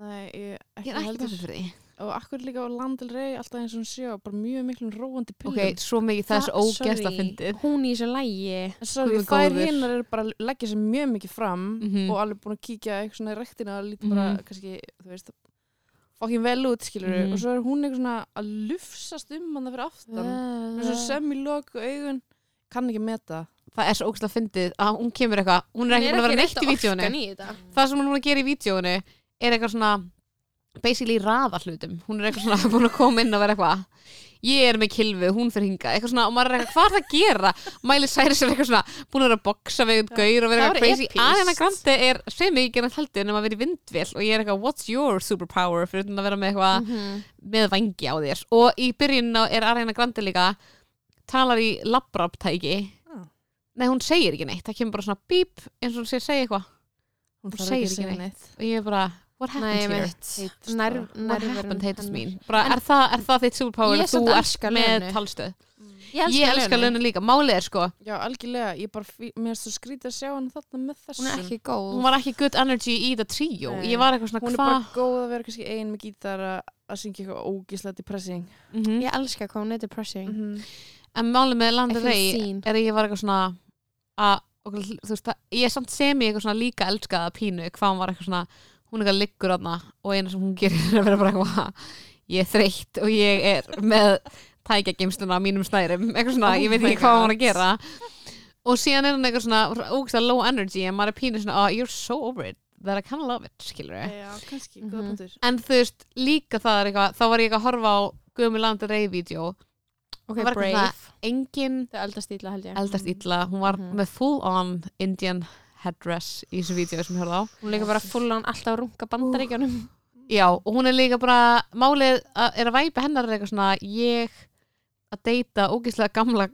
nei, ég, ég er ekki peppið fyrir því og akkur líka á Landel Rey alltaf eins og hún sé á bara mjög miklum róandi pillum ok, svo mikið það er svo Það- ógæst að sorry. fyndið Hún í þessu lægi. En Sorry, Guð þær góður. hinnar eru bara að leggja sér mjög mikið fram Mhm. og alveg búin að kíkja eitthvað svona í rektina og lítið bara, Mhm. kannski, þú veist fokkin vel út, skilur Mhm. og svo er hún eitthvað svona að lufsast um hann það fyrir aftan, eins og sem í lok og augun, kann ekki meta það er svo ógæst að fyndið að hún kemur eitthvað hún er ekki búin að vera neitt í vídjónu það sem hún er búin að gera í vídjónu er eitthvað svona basically raða hlutum hún er eitthvað svona (laughs) búin að koma inn og vera eitthvað ég er með kilfu, hún fyrir hinga eitthvað svona og maður er eitthvað, hvað er það að gera Miley Cyrus er eitthvað svona, búin að vera að boksa við einhvern gaur og vera Það eitthvað var crazy epískt. Ariana Grande er sem ekki gerðan haldið nema að vera í vindvél og ég er eitthvað what's your superpower fyrir utan að vera með eitthvað Mhm. Mm. með vangi á þér og í byrjunna er Ariana Grande líka talar í labraptæki Ah. nei hún segir ekki neitt það kemur bara svona bíp eins og hún sé að segja eitthvað Hún hún þarf segir ekki að ekki segja neitt. neitt og ég er bara what happened Nei, here mitt. Heitust Nærv- what nærverun happened haters hennar. mean bara, En- er, það, er það þitt Ég superpower að þú samt ert elska með Lenu. talstöð Ég ég elska Lenu. lönu líka, málið er sko Já, algjörlega, ég bara, fí- mér er svo skrítið að sjá hann þarna með þessum Hún er ekki góð. hún var ekki good energy í það tríó Nei. ég var eitthvað Hún svona er bara hvað góð að vera kannski ein með gítara að syngja eitthvað ógíslega depressing Mhm. Ég elska hvað hún er depressing. -hmm. en málið með I Landa feel Rey seen. er að ég var eitthvað svona að, og, þú veist, að, ég er samt semi eitthvað svona líka elskaða pínu hvað hún var eitthvað svona, hún eitthvað liggur aðna og eina sem hún gerir er að vera bara eitthvað ég er þreytt og ég er með tækjageimstuna á mínum snærum eitthvað svona, Oh ég veit my ekki hvað hún God. var að gera og síðan er hún eitthvað svona ógæslega low energy en maður er pínu svona, oh, you're so over it that I kinda love it, skilur ég Já, kannski, Mhm. góða punktur en þú veist, líka það er eitthvað þá var ég eitthvað að horfa á Guðmi Landa Rey-vídeó Ok, Hún var eitthvað brave. engin Það er eldast ítla held ég. eldast illa, hún var Mhm. með full on Indian headdress í þessu vídeo sem ég horfði á Hún er líka bara full on alltaf að runga bandaríkjunum. já, og hún er líka bara, málið að, er að væpa hennar er eitthvað svona ég að deyta ógeðslega gamla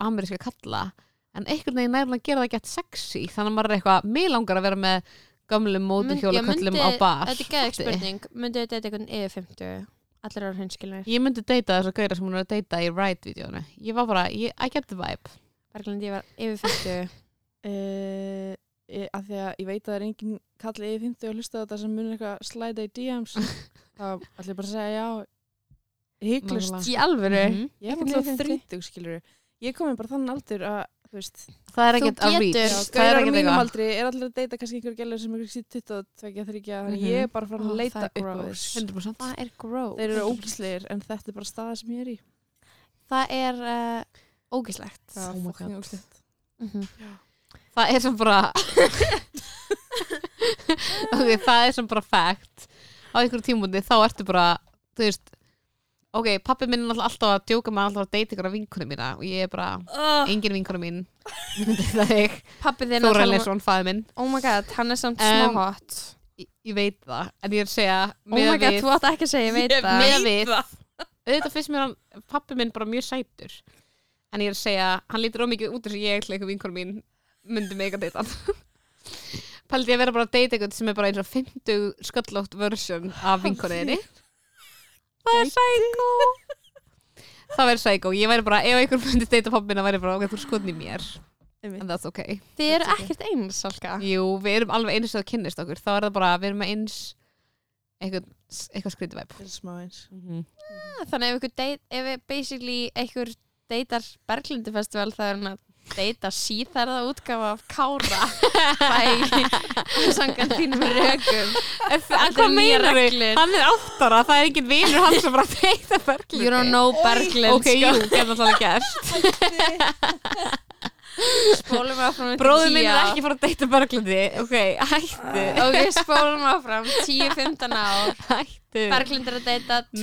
ameríska kalla en einhvern veginn nærlega að gera það gett sexy þannig að maður er eitthvað, mig langar að vera með gömlum mótuhjólaköllum á bar Þetta er Fatti. geðið spurning. Myndi þetta eitthvað yfir 50? Allir eru hinskilnir. ég myndi deyta þess að gæra sem hún er að deyta í Ride-vídeónu ég var bara, ég, I get the vibe Berglind, ég var yfir 50. uh, að því að ég veit að það er engin kallið yfir 50 og hlusta á þetta sem munir eitthvað slæta í DMs (laughs) þá ætlum ég bara að segja já hygglust, Nákvæmlega. (laughs) Í alvöru? Mhm. ég er Ekkert alltaf yfir 50. 30 skilur ég komin bara þann aldur að þú veist, það er Þú ekkert að reach getur. Já, það er gaurar á ekkert mínum eitthvað aldri er allir að deyta kannski einhver gælur sem er kannski 22, 23 Mhm. þannig að ég er bara farin Ó, að leita það er upp á gross. þess 100% Það er gross. þeir eru ógísleir en þetta er bara staða sem ég er í Oh Það er uh, ógislegt. Oh my fucking God. ógeðslegt. það er sem bara (laughs) ok, það er sem bara fact á einhverjum tímundi þá ertu bara þú veist ok, pappi minn er náttúrulega alltaf að djóka með alltaf að deyta ykkur af vinkunum mína og ég er bara Ah. engin vinkunum mín (laughs) það er Pappi þinn að Þóra tala um- Lesson, fæði minn Oh my god, hann er samt Um, smá hot. ég, ég veit það, en ég er að segja Oh my god, þú átt ekki að segja, ég veit það. með við auðvitað finnst mér hann, pappi minn bara mjög sætur en ég er að segja, hann lítur ómikið út þess að ég ætla einhver vinkonum mín myndi mig að deyta hann (laughs) Paldi ég að vera bara að deyta einhvern sem er bara eins og 50 sköllótt version af vinkonuðinni Það er sækó Það verður sækó, ég væri bara, ef einhver myndi deyta pappi minna væri ég bara, ok, þú er skotin í mér Einmitt. en that's ok Þið eru ekkert eins, Salka. Jú, við erum alveg eins og það kynnist okkur þá er það bara, við erum með eins eitthvað, eitthvað skrítið væp Þetta er smá eins Mhm. Þannig ef ykkur deit, ef við basically ykkur deitar Berglindi festival, það er hann að update að síþærða útgafa af (laughs) Kára bæ sangan þínum rökum Þetta er Hvað nýja meinar þau? reglur. Hann er áttara, það er ekkert vinur hans sem bara deyta berglindi. You don't know Berglind sko. Ok, jú, getur það gert. Spólum áfram upp í Bróður minn tíu er ár. ekki fara að deyta berglindi. Ok, hættu, Ok, spólum áfram 10-15 ár hættu. Berglind er að deyta Nei.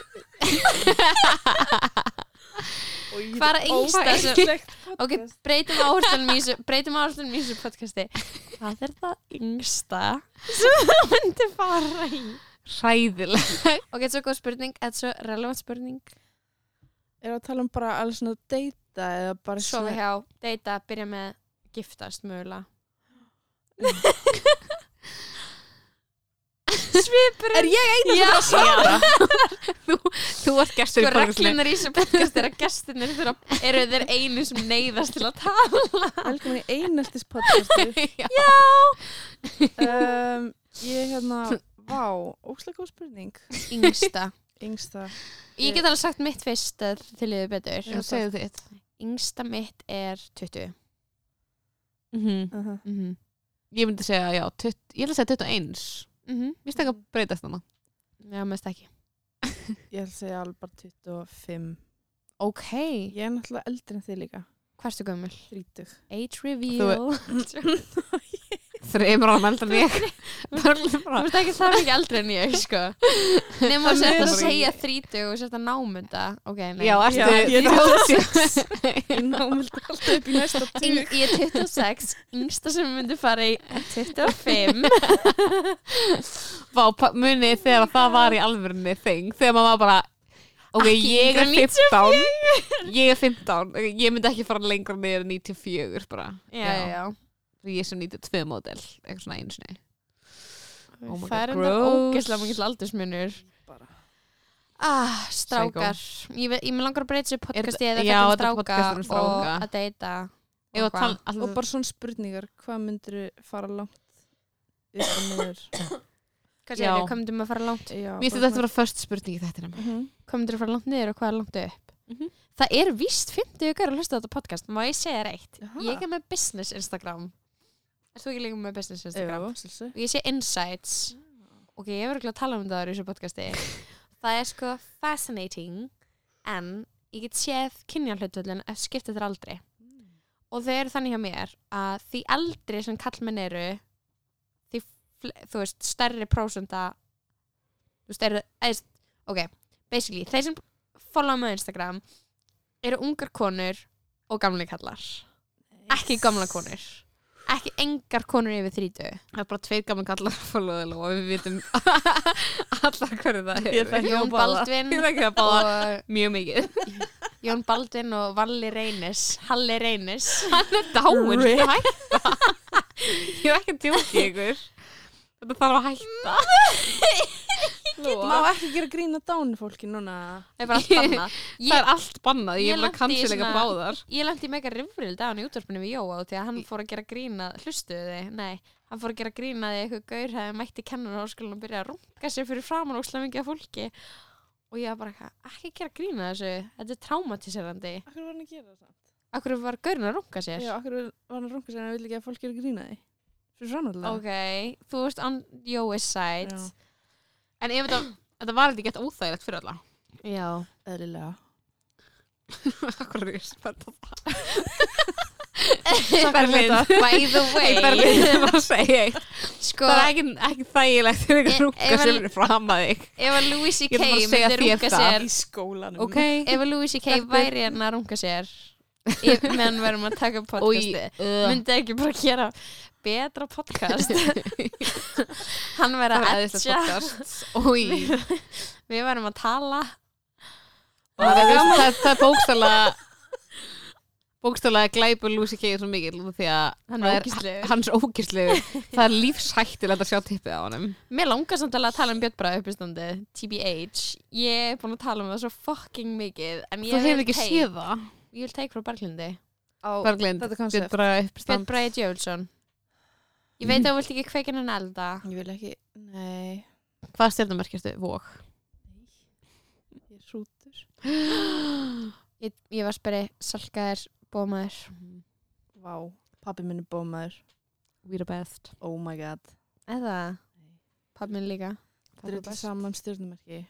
tvítangaur Hvað er yngsta sem Ok, breytum áherslunum í þessu breytum áherslunum í þessu podcasti Hvað er það yngsta sem það myndi fara í? Hræðileg. Ok, þetta er svo góð spurning, þetta er svo relevant spurning Er að tala um bara alls svona deyta eða bara Sofa hjá, deyta, byrja með giftast mögulega Mm. (laughs) Svipurinn Er ég eina sem Já. það að svara? þú, þú ert gestur í Sko berglindi. reglunar í þessu podcast er að gestinir þurfa, eru þeir einu sem neyðast til að tala. Velkomin í eineltis podcasti (laughs) Já. um, Ég hérna Vá, óslega góð spurning Yngsta. Yngsta Ég get alveg sagt mitt fyrst eh, til þið betur. Já, segðu þitt. Yngsta mitt er 20. Mhm. uh -huh. Mm -hmm. Ég myndi segja, já, tutt, ég ætla að segja 21. Mhm. Mér stakka að breytast hana. Já, mest ekki. Ég ætla að segja alveg bara 25 Ok. Ég er náttúrulega eldri en þið líka Hversu gömul? 30 Age reveal. Þú Þreymur ára meldan ég. (laughs) Berglindi bara. veist ekki það mikið aldrei en ég, sko. Nefnum Það að setja munar að í- segja 30 og setja námunda. Ok, nei. Já, ertu Já, ég er 26. Ég námild alltaf upp í (laughs) næsta Yng, tíu ég er 26, yngsta sem myndi fara í 25 Vá, pa- munið þið þegar það var í alvörunni þing þegar maður var bara (laughs) ok, Ekki ég er yngri en 15 ég er 15, ok, ég myndi ekki fara lengra niður en 94 bara Já, já, já ég er sem 92 módel, eitthvað svona einu sinni Oh my það god, er enda gross. ógeðslega mikill aldursmunur Bara. ah, strákar ég, ve- ég mig langar að breyta þessu podcasti Er- eða já, þetta þetta er er stráka podcast um stráka. og að deyta Ef að og tala- hvað. alltaf- Og bara svona spurningar Hvað myndir fara langt upp og niður (coughs) hvað Já. segir þau, hvað myndum að fara langt Já, mér finnst þetta að vera först spurning í þetta -hmm. hvað myndum að fara langt niður og hvað er langt upp Mhm. það er víst 50 ykkur að hlusta á þetta podcast má ég segja þér eitt, Jaha. ég er með business Instagram er þú ekki líka með business Instagram Instagram Sjálfsög. og ég sé insights Ah. ok, ég verður ekki að tala um það í þessu podcasti (laughs) það er sko fascinating en ég get séð kynjarhlutvöldin ef skipta þér aldrei Hmm. og þau eru þannig hjá mér að því eldri sem kallmenn eru því, fle- þú veist, stærri prósenda þú veist, eru eðst, ok, basically, þeir sem follow mig á Instagram eru ungar konur og gamli kallar ekki gamla konur ekki engar konur yfir þrítu það er bara tveir gaman kallar að followa þig, Lóa, og við vitum (laughs) allar hverju það Ég er þekki Jón þá báða. Baldvin ég þekki það báða og mjög mikið Jón Baldvin og Valli Reynis Halli Reynis hann er dáin, Rip. það er hætta (laughs) ég er ekki að tjóki ykkur þetta þarf að hætta Má ekki gera grína dánu fólki núna Það er bara allt annað það Ég, er allt bannað, ég ég er bara lenti í kansilega svona- báðar (laughs) ég lendi í mega rifril dagan í útvarpinu við Jóa því að hann fór að gera grína hlustuðu þið, nei, hann fór að gera grína því að eitthvað gaur hefði mætti kennur á skólan og byrjaði að runga sér fyrir framan og slemmingi af fólki og ég var bara eitthvað, ekki gera grína þessu þetta er traumatiserandi Akkur var hann að gera það? Akkur var gaurin að runga sér Já, akkur var hann að runga sér en vill ekki að fólk gera grína því Fyrir framhaldilega Ok, þú veist on Jóis side Já. en ef þetta, þetta var eitthvað gett óþægilegt fyrir alla (laughs) Já. Eðlilega Akkur er ég spennt Sko- að það Berlín. Berlín (laughs) By the way Hey, Berlín, ég var að segja eitt Sko, Það er ekki, ekki þægilegt þegar Ég- eitthvað ég rúka var- sem er fram að þig ef að Louis Ég C.K. ætla bara að segja myndi þér runga það. sér skólanum Ok Ef að Louis C.K. Stelpur. væri hann að runga sér ef- meðan við erum að taka upp podcasti Myndi myndi ekki bara gera betra podcast (laughs) (laughs) Hann það væri var að eðislega edja podcast Új Við værum að tala Það er- það er- það er bókstælega Bókstælega glæpur Lucy K. svo mikið Því að Hann það er ógíslegur. Hans er (laughs) ógislegu Það er lífshættilegt að sjá tippið á honum Mér langar samt alveg að tala um Björn Bræði uppistandi TBH Ég er búin að tala um það svo fucking mikið en ég Þú hefur vil ekki take- séð það Ég vil take frá Berglindi Berglind, Þetta Björn koncept Braga Björn uppstand Bræði Jólsson Ég Mm. veit að þú vilt ekki kveikin en elda Ég vil ekki, nei Hvað stjórnumerkjastu? Vók Ég er sútur Ég, ég var spyrir salkaðir bómaður Vá, pappi minn er bómaður We're the best Oh my god eða pappi minn líka Þetta er þetta saman (gasps) stjórnumerki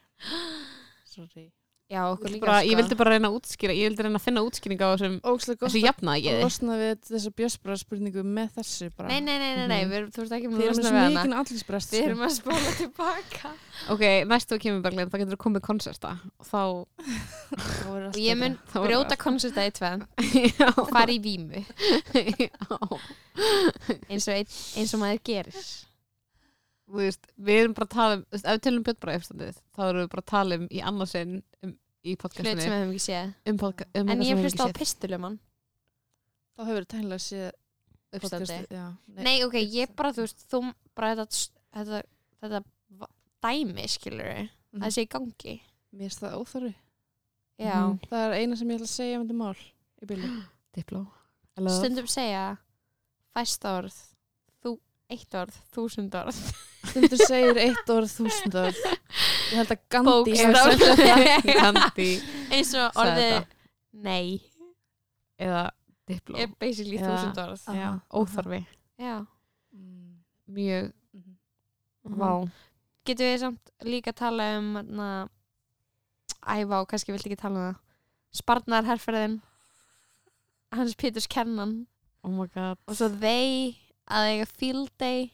Sorry já okkur líka bara, sko. Ég vildi bara reyna að útskýra Ég vildi reyna að finna útskýringa á þessum Ógslag gott Þessu jafna ekki að losna við þessa björsbara spurningu með þessu bara nei nei nei, nei, nei Mhm. við, þú ert ekki Þið með að erum losna svo við hana mikinn allisbrest við erum að (laughs) spóla tilbaka Ok, næstu að kemur Berglind Þá getur þú komið konserta Og þá og ég mun Þá er brjóta allt. konserta í tvenn Já, og fara í vímu já. eins og, einn, eins og maður gerir Þú veist, Við erum bara að tala um þú veist, Ef við tölum Björn bara uppstandið Þá erum við bara að tala um Í annarsinn um, Í hlut sem við podcastinu höfum ekki séð um podca um en eitthvað ég sem við hlusta á ekki séð. pistulemann Þá hefur þetta heimlega séð uppstandi podcastið, já. Nei, Nei, ok, ég bara, þú veist, þú bara þetta, þetta, þetta va- dæmi, skilur við, Mhm. það sé í gangi. Mér finnst það óþarfi Já, Mhm. Það er eina sem ég ætla að segja um þetta mál í byrju Dipló Hello. stundum segja fæst orð, þú, eitt orð, þúsund orð. (laughs) Stundur segir eitt orð, þúsund orð Ég held að Gandhi Bókstaflega. hafi sagt þetta. Kandi Eins og Sagði orðið þetta. nei Eða Dipló er basically Já. þúsund orð. Ah. Já, Óþarfi Já. Mm, Mjög mhm. Vá Getum við samt líka tala um, na, æ, vá, kannski viltu ekki tala um það. Sparnarherferðin, hans Péturs Kennan Oh my god og svo they að eiga field day.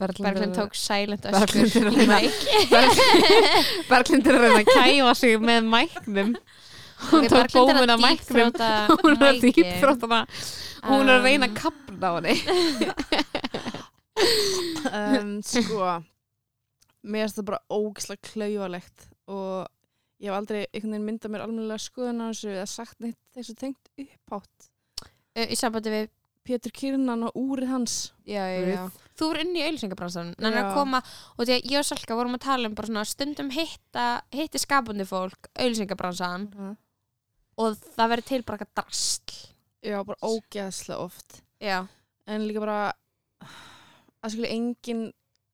Berglind tók silent öskur Berglind er að í reyna- mæk (laughs) Berglind er að reyna að kæfa sig með mæknum Hún Ok, tók Berglind er að bómun af mæknum dýpþróta Hún er að mækin. dýpþrótana Hún er að reyna Um, að kapna á henni um, Sko Mér finnst það bara ógislega klaufalegt og ég hef aldrei einhvern veginn myndað mér almennilega skoðun á þessu eða sagt neitt þessu tengt upphátt uh, í sambandi við Pétur Kirnan og úrið hans já, já, já. þú voru inn í auðlýsingabransan en að Já. koma og því að ég og Salka vorum að tala um bara svona stundum hitta hitti skapandi fólk auðlýsingabransan og það verður til bara eitthvað drastl Já, bara ógeðslega oft já, en líka bara að skilja enginn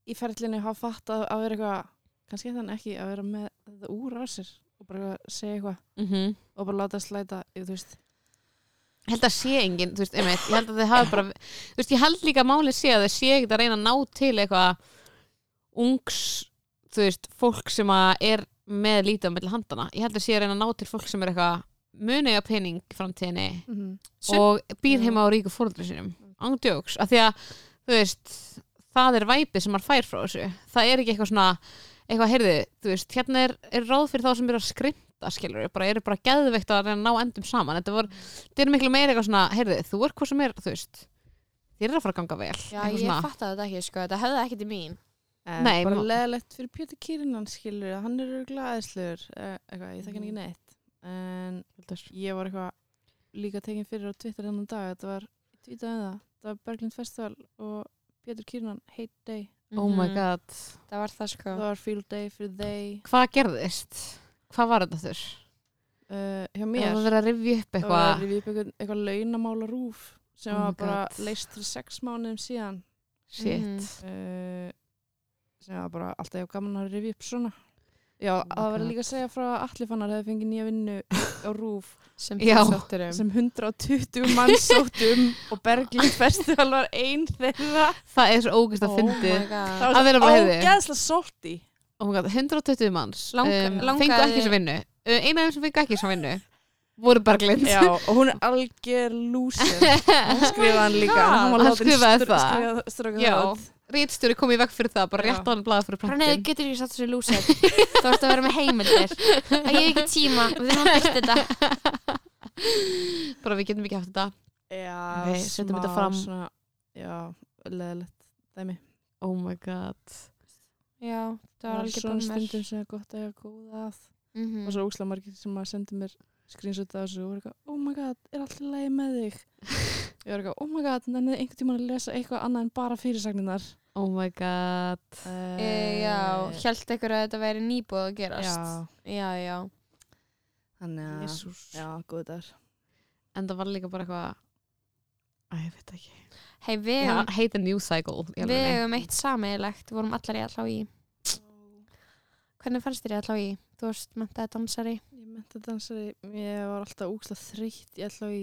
í ferlinu hafa fatt að, að vera eitthvað kannski þann ekki að vera með þetta úr á sér og bara segja eitthvað Mhm. og bara láta slæta þú veist Ég held að sé engin, þú veist, einmitt, ég held að þið hafa bara, þú veist, ég held líka að máli sé að þið sé ekkert að reyna að ná til eitthvað ungs, þú veist, fólk sem að er með lítið á milli handana. Ég held að sé að reyna að ná til fólk sem er eitthvað muniga pening í framtíðinni mm -hmm. Sum- og býr Já. heima á ríku fóröldur sínum. Mm. Ándjóks, af því að, þú veist, það er væpið sem maður fær frá þessu. Það er ekki eitthvað svona, eitthvað, heyrðu, þú veist, hérna er, er ráð fyrir þá sem eru að skrimta, skilur við, bara eru bara geðveikt að reyna að ná endum saman. Þetta voru, þetta er miklu meira eitthvað svona, heyrðu, þú er hvað sem er, þú veist, þér er að fara að ganga vel. já eitthvað ég fattaði þetta ekki sko, þetta höfði ekki til mín en Nei, bara ma- leðilegt fyrir Pétur Kirinan skilur við, hann er glæðislegur eitthvað, ég þekki hann Mhm. ekki neitt en ég var eitthvað líka tekin fyrir á Twitter hennan dag þetta var, ég tweetaði um það, þetta var Berglind Festival og Pétur Kirinan hate day, Oh my Mhm. god. það var það sko það var field day fyrir they Hvað gerðist? Hvað var þetta þurr? uh, hjá Mér. mér Það var verið að rifja upp Það var eitthvað. rifið upp eitthvað, eitthvað launamála rúf sem Oh my var bara God. leist fyrir sex mánuðum síðan Shit. Mhm. uh, sem var bara alltaf ég gaman að rifið upp svona Já, my það var God. líka að segja frá að allir fannar hefði fengið nýja vinnu á (laughs) rúf sem Já. þú sóttir um sem 120 mann sótt um og Berglind Festival var ein þeirra Það er svo ógist að oh fyndi. my god Það Að var vera svo bara, heyrðu. ógeðslega sótt í oh my god, 120 manns Lang- um, langaði- fengu ekki svo vinnu Uh, eina af þeim sem fengu ekki svo vinnu voru Berglind Já, og hún er algjör lúsir (laughs) Hún skrifaði hann líka God. Hún var Hann látin skrifaði str- það. skrifa- stráka Já. það út. rítstjóri kom í veg fyrir það bara Já. rétt á hann blaða fyrir Bara neður prentin getur ekki satt þessu lúsar Þú ert að vera með heimildir Það ég hef ekki tíma, við þurfum að byrta þetta bara við getum ekki haft þetta Já, Ok, setjum smá þetta fram. svona, já, leðilegt dæmi. oh my god Já, það var algjör svona bummer stundum sem er gott að ég hafa góða að Mhm. og svo úkslega margir sem að senda mér screenshot af þessu og voru eitthvað, oh my god, er alltaf lægi með (laughs) þig ég var eitthvað, oh my god, nennið einhvern tímann að lesa eitthvað annað en bara fyrirsagninar oh my god Eh, e, Já, hjælt ykkur að þetta væri nýbúið að gerast já, Já, já þannig að Jesus. já, góð dagur en það var líka bara eitthvað að ég veit ekki Hei, við yeah. hefum hate the news cycle í (gasps) Við alvörunni. hefum eitt sameigilegt, við vorum allar í allá í Hvernig fannst þér ég allá í? Þú varst mentaði dansari. Ég menta dansari, ég var alltaf úkslega þreytt ég ætla í,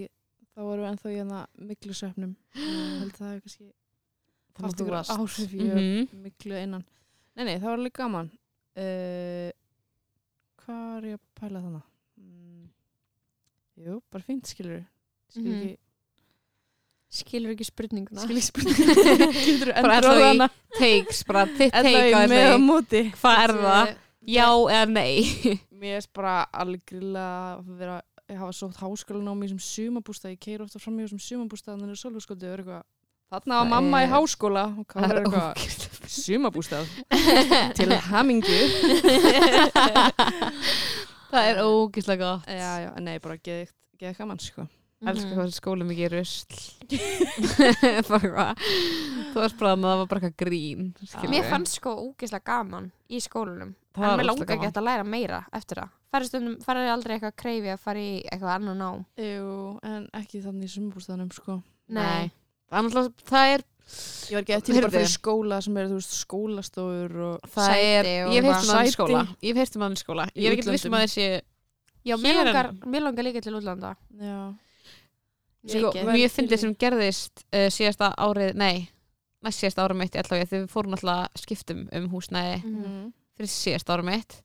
þá vorum við ennþá í hana (gasps) myglusöfnum Ég held að það hefur kannski haft ykkur áhrif ég mm Mhm. miklu innan Nei, nei, það var alveg gaman uh, Hvað er ég að pæla þannig? Mm, jú, bara fínt skilur Skilur Mhm. (laughs) ekki Skilur ekki spurninguna. Skilur ekki spurningu Getur þú Bara endur ætlaðu á í- hana Takes, bara þitt take á Ella í með á þessu móti Hvað er það? Já eða nei? Mér er bara alveg grilla að vera Ég hafa sótt háskólan á mér sem sumabústa Ég keir ofta fram í þessum sumabústa Þannig er svolvskóti og er eitthvað Þarna var Það mamma í er- háskóla og hvað (laughs) er eitthvað ógeðslega- sumabústað (laughs) til hamingu (laughs) (laughs) Það er ógislega gott Já, já, nei, bara geðið geð gaman sko Mm-hmm. Elskar hvað þessi skóli mikið rusl (laughs) Bara hvað Þú varst bara að það var bara eitthvað grín skilurðu. Mér fannst sko úkislega gaman í skólunum. Það En var mér ógeðslega langar gaman. ekki að læra meira eftir það. Farið stundum, farið aldrei eitthvað að kreyfi að fara í eitthvað annan nám. Jú, en ekki þannig í sumabústaðanum sko Nei. Það er náttúrulega- það er Ég var ekki eftir bara Heyrðu. fyrir skóla sem er, þú veist, skólastofur og Það er, Sæti og ég hef heyrt um eitthvað. aðeins Sæti. skóla Ég hef heyrt um aðeins skóla Ég Í er ekki viss um útlöndum. að þessi Já, mér Hér en- langar, mér langar líka til útlanda. Já, sko, Mikið. mjög fyndið sem gerðist uh, síðasta árið, nei næst síðasta árið mitt í allavega þegar við fórum alltaf skiptum um húsnæði Mhm. fyrir síðasta árið mitt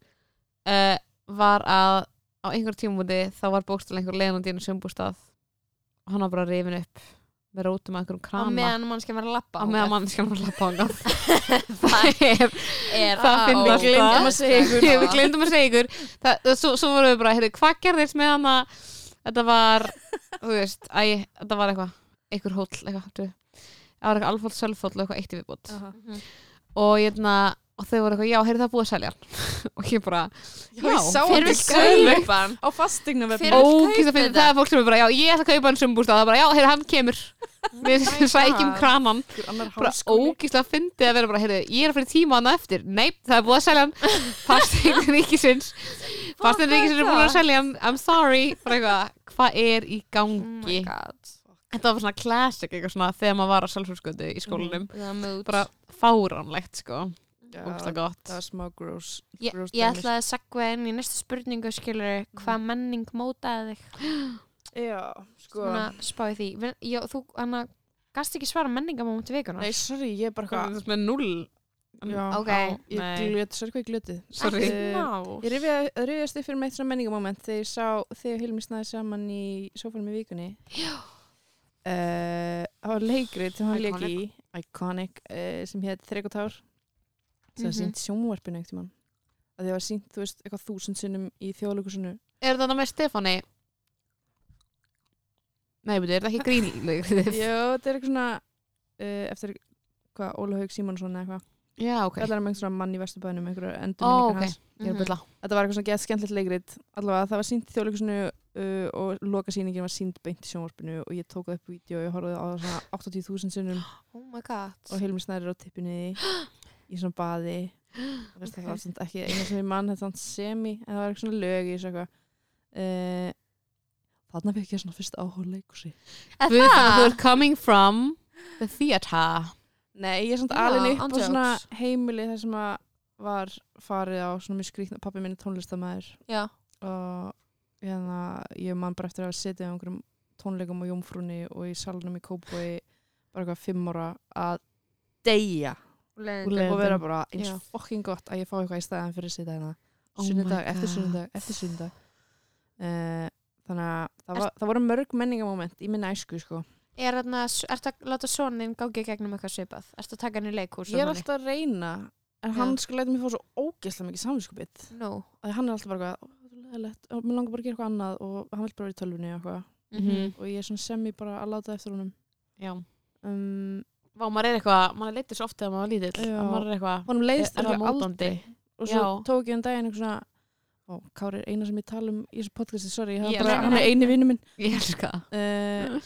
uh, var að á einhver tímúti þá var bókstæl einhver leiðandi inn í sömbústað og hann var bara rifin upp með rótum að einhverjum Á krama meðan mannskja var að lappa. á meðan mannskan var að lappa á (laughs) Það hann er það finnst við glemdum að ógeðslegt. segja (laughs) ykkur við glemdum að segja ykkur það, það- svo, svo vorum við bara, heyrðu, hvað gerðist með hana þetta var þú veist, æ, þetta var eitthvað einhver hóll, eitthvað, þú það var eitthvað alfóll, sölfóll og eitthvað eitt í viðbútt Aha. Mhm. og, hérna, og þau voru eitthvað, já, heyrðu það er búið að selja hann (laughs) og ég bara, já, ég sá Hver hann vill til kaupa sölu hann? á fastegna Hver vefnum vill ógist kaupa að finna þetta? það er fólk sem er bara, já, ég ætla að kaupa hann sumbúst það er bara, já, heyrðu, hann kemur (laughs) við Oh my (laughs) sækjum God. kraman annar bara háskóli ógíslega fyndið að vera bara, heyrðu, ég er að fyrir tíma hana eftir nei, það er búið að selja hann fasteign ríkisins fasteign Hvað er ríkisins er það? búin að selja hann I'm sorry, bara eitthvað, hvað er í Oh gangi my god. þetta var svona classic, eitthvað svona þegar maður var að sjálfsfjörsköndu í skólinum The mood. bara fáránlegt, sko, Já, ógíslega það gott var smá gross Ég, gross ég dæmis. ætlaði að segja inn í næstu spurningu skilur hvað menning mótaði þig Já, sko svona spáði því Vel- já, þú hana, gast ekki svara menningamómenti vikuna Nei, sorry, ég er bara hvað er hvað þetta með null Já, Ok. ég Nei. glöti, sorry hvað ég glötið Sorry. Eh, Ég rifjaði- rifjaðist upp fyrir meitt svona menningamoment þegar ég sá þegar Hilmi snæði saman í sófálum í vikunni. Já. Það var leikrið sem hann leik í, Iconic, uh, sem hétt Þrekotár, Mhm. sem mm -hmm. sínt sjónvarpinu einhvern tímann. Að því að var sínt, þú veist, eitthvað þúsund sinnum í þjóðlökusinu. er þetta með Stefani nei, betur, er þetta ekki (laughs) grínlegur Já, þetta er eitthvað svona, uh, eftir hvað, Óla Haug Simonsson eða eitthvað. já, ok, Okay. Það er um einhverjum mann í Vesturbænum, einhverju endurminningar Ó, ok. hans. Mhm. ég er að bylla Þetta var eitthvað svona gett skemmtilegt leikrit allavega það var sínt í þjóðleikusinu uh, og lokasýningin var sínt beint í sjónvarpinu og ég tók það upp vídeo og ég horfði á það svona 80.000 sunnum oh my god og Hilmi Snæri er á tippinu í svona baði Þú veist, það var svona ekki einu sem ég mann þetta var semi en það var eitthvað svona lög í þessu eitthvað uh, þarna fekk ég svona fyrst áhuga á leikursi Er Guð, það? þannig að þú ert coming from the theatre Nei, ég er svona Já, alveg upp á andjóks. svona heimili þar sem að var farið á svona mjög skrýtna pappi minni tónlistamæður já, og hérna, ég man bara eftir að hafa setið á einhverjum tónleikum á Jómfrúni og í salunum í Kópói bara eitthvað fimm ára að deyja Leiðindum. og vera bara eins Já. fokking gott að ég fá eitthvað í staðan fyrir að sitja hérna Oh my sunnudag, eftir God. sunnudag, eftir sunnudag uh, þannig að það, var, það voru mörg menningamoment í minna æsku sko. er þarna, ertu að láta sonin gangi í gegnum eitthvað svipað ertu að taka hann í leikhús ég er alltaf að reyna en Já. hann sko lætur mér fá svo ógeðslega mikið samvinskupið no. að hann er alltaf bara eitthvað, "Ó, þetta er leiðilegt, og mér langar bara að gera eitthvað annað og hann vil bara vera í tölvunni og eitthvað Mhm. og ég er svona semi bara að láta eftir honum Já. um, Vá, maður er eitthvað, maður leittir svo oft þegar maður var lítill Já. að maður er eitthvað, honum er, leiðist er það eitthvað mótandi aldrei og svo Já. tók ég um daginn eitthvað svona ó, Kári er eina sem ég tala um í þessu podcasti, sorry ég Ég hef bara, elska hann er það. eini vinnu (laughs) minn (laughs) Ég elska það uh,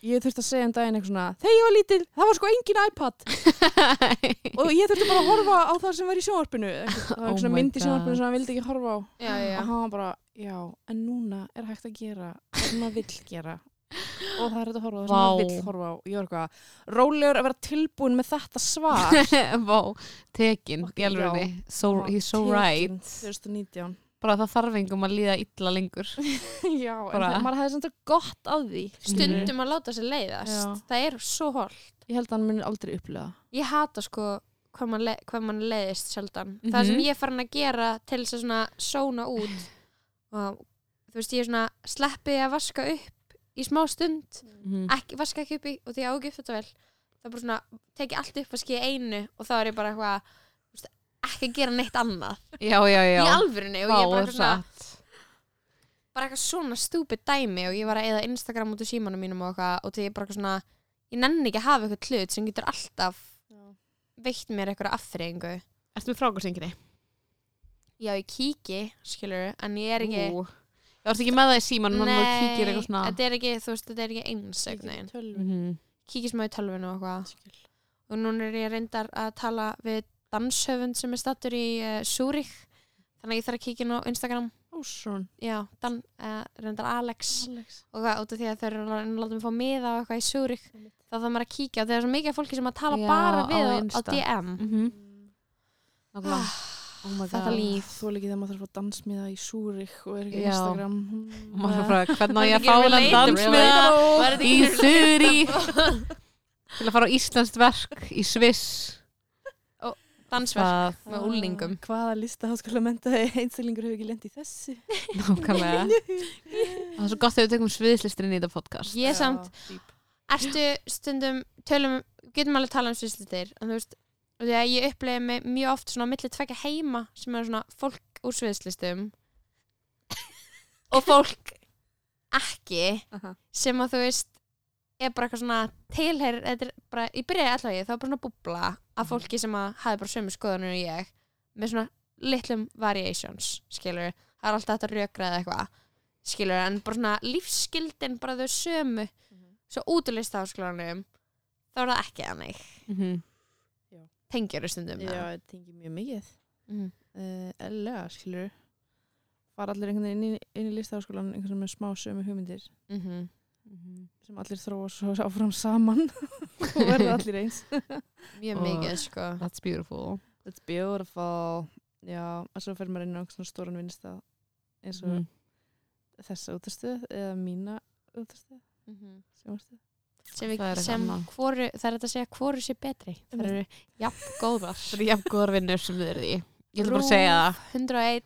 ég þurfti að segja um daginn eitthvað svona þegar ég var lítil, það var sko engin iPad og ég þurfti bara að horfa á það sem var í sjónvarpinu eitthvað, það var Oh eitthvað svona my mynd í sjónvarpinu God. sem hann vildi ekki horfa á já, já. og hann var bara, já, en núna er hægt að gera það sem maður vill gera og það er þetta að horfa á það sem Vá. maður vill horfa á og ég var eitthvað rólegur að vera tilbúin með þetta svar (laughs) Vá, tekin Fucking í alveg so, Vá, (laughs) He's so tekin right 2019 Bara það þarf engum að líða illa lengur (laughs) já, en Bara- það, maður hefði samt gott á því stundum að láta sér leiðast Já. það er svo hol ég held að hann muni aldrei upplega ég hata sko hvað mann, le hvað mann leiðist sjaldan það sem Mhm. ég er farin að gera til þess að svona sóna út (sighs) og þú veist ég er svona sleppið að vaska upp í smá stund Mhm. ekki, vaska ekki upp í og því ég á ekki upp þetta vel það er bara svona, teki allt upp að skýja einu og þá er ég bara eitthvað þú veist, ekki að gera neitt annað Já, já, já í alvörunni og Vá, ég er bara eitthvað svona satt. bara eitthvað svona stúpid dæmi og ég var að eða Instagram út úr símanum mínum og eitthvað og því ég bara eitthvað svona ég nenni ekki að hafa eitthvað hlut sem getur alltaf veitt mér eitthvað afþreyingu Ertu með frákvæmsingri? já ég kíki, skilur en ég er ekki Ú. Já, ertu ekki með það í símanum Þannig að þú kíkir eitthvað svona þetta er ekki, þú veist, þetta er ekki eins einhvern veginn. tölvun Mhm. kíkir smá í tölvinu og Mm. eitthvað og núna er ég reyndar að tala við danshöfund sem er stattur í uh, Súrik þannig að ég þarf að kíkja inn á Instagram Ósson já, Dan, uh, reyndar Alex Alex og hvað, út af því að þau eru að reyna að láta mig fá miða og eitthvað í Súrik Einmitt. þá þarf maður að kíkja og það er svo mikið af fólki sem að tala Já, bara á við á, á Insta. DM Mhm. Nákvæmlega. Ah, Oh my þetta god. líf Þú líkið þegar maður þarf að fá dansmiða í Súrik og er ekki á Já. Instagram Og maður er bara, hvernig á ég að fá Þetta er ekki þennan relatable. dansmiða Þetta er í ekki þurri (laughs) til að fara á íslenskt verk í Sviss dansverk það með úlningum Mm. Hvaða lista háskóla mentaði (laughs) einsælingur hefur ekki lendið í þessu (laughs) nákvæmlega það er svo gott þegar við tökum sviðslistrin í þetta podcast ég samt, dýp. ertu stundum tölum, getum alveg að tala um sviðslitir en þú veist, og því að ég upplegi mig mjög oft svona á milli tvekja heima sem eru svona fólk úr sviðslistum og fólk ekki Aha. sem að þú veist er bara eitthvað svona tilher bara, ég byrjaði alltaf ég, það var bara svona búbla af fólki sem að hafi bara sömu skoðanir og ég með svona litlum variations skilur, það er alltaf þetta rökraði eitthvað, skilur, en bara svona lífsskildin bara þau sömu svo útlist áskólanum þá er það ekki þannig, Mhm. tengjur í stundum Já, eða? ég tengi mjög mikið Mhm. uh, Ellega, skilur Var allir einhvern veginn inn í- inn í listaháskólan einhvern veginn með smá sömu hugmyndir Mhm. sem allir þróa svo áfram saman (laughs) og verða allir eins mjög Og- mikið sko that's beautiful That's beautiful Já, og svo fer maður inn á einhvern svona stóran vinnstað eins og Mhm. þessa útastöð eða mína útastöð Mhm. sjónvarpsstöð. sem, við, Það er eitthvað sem annað. hvoru, það er þetta að segja hvoru sé betri það eru jafn góðar það er jafn góðar vinnur sem þið eruð í ég ætla bara að segja það 101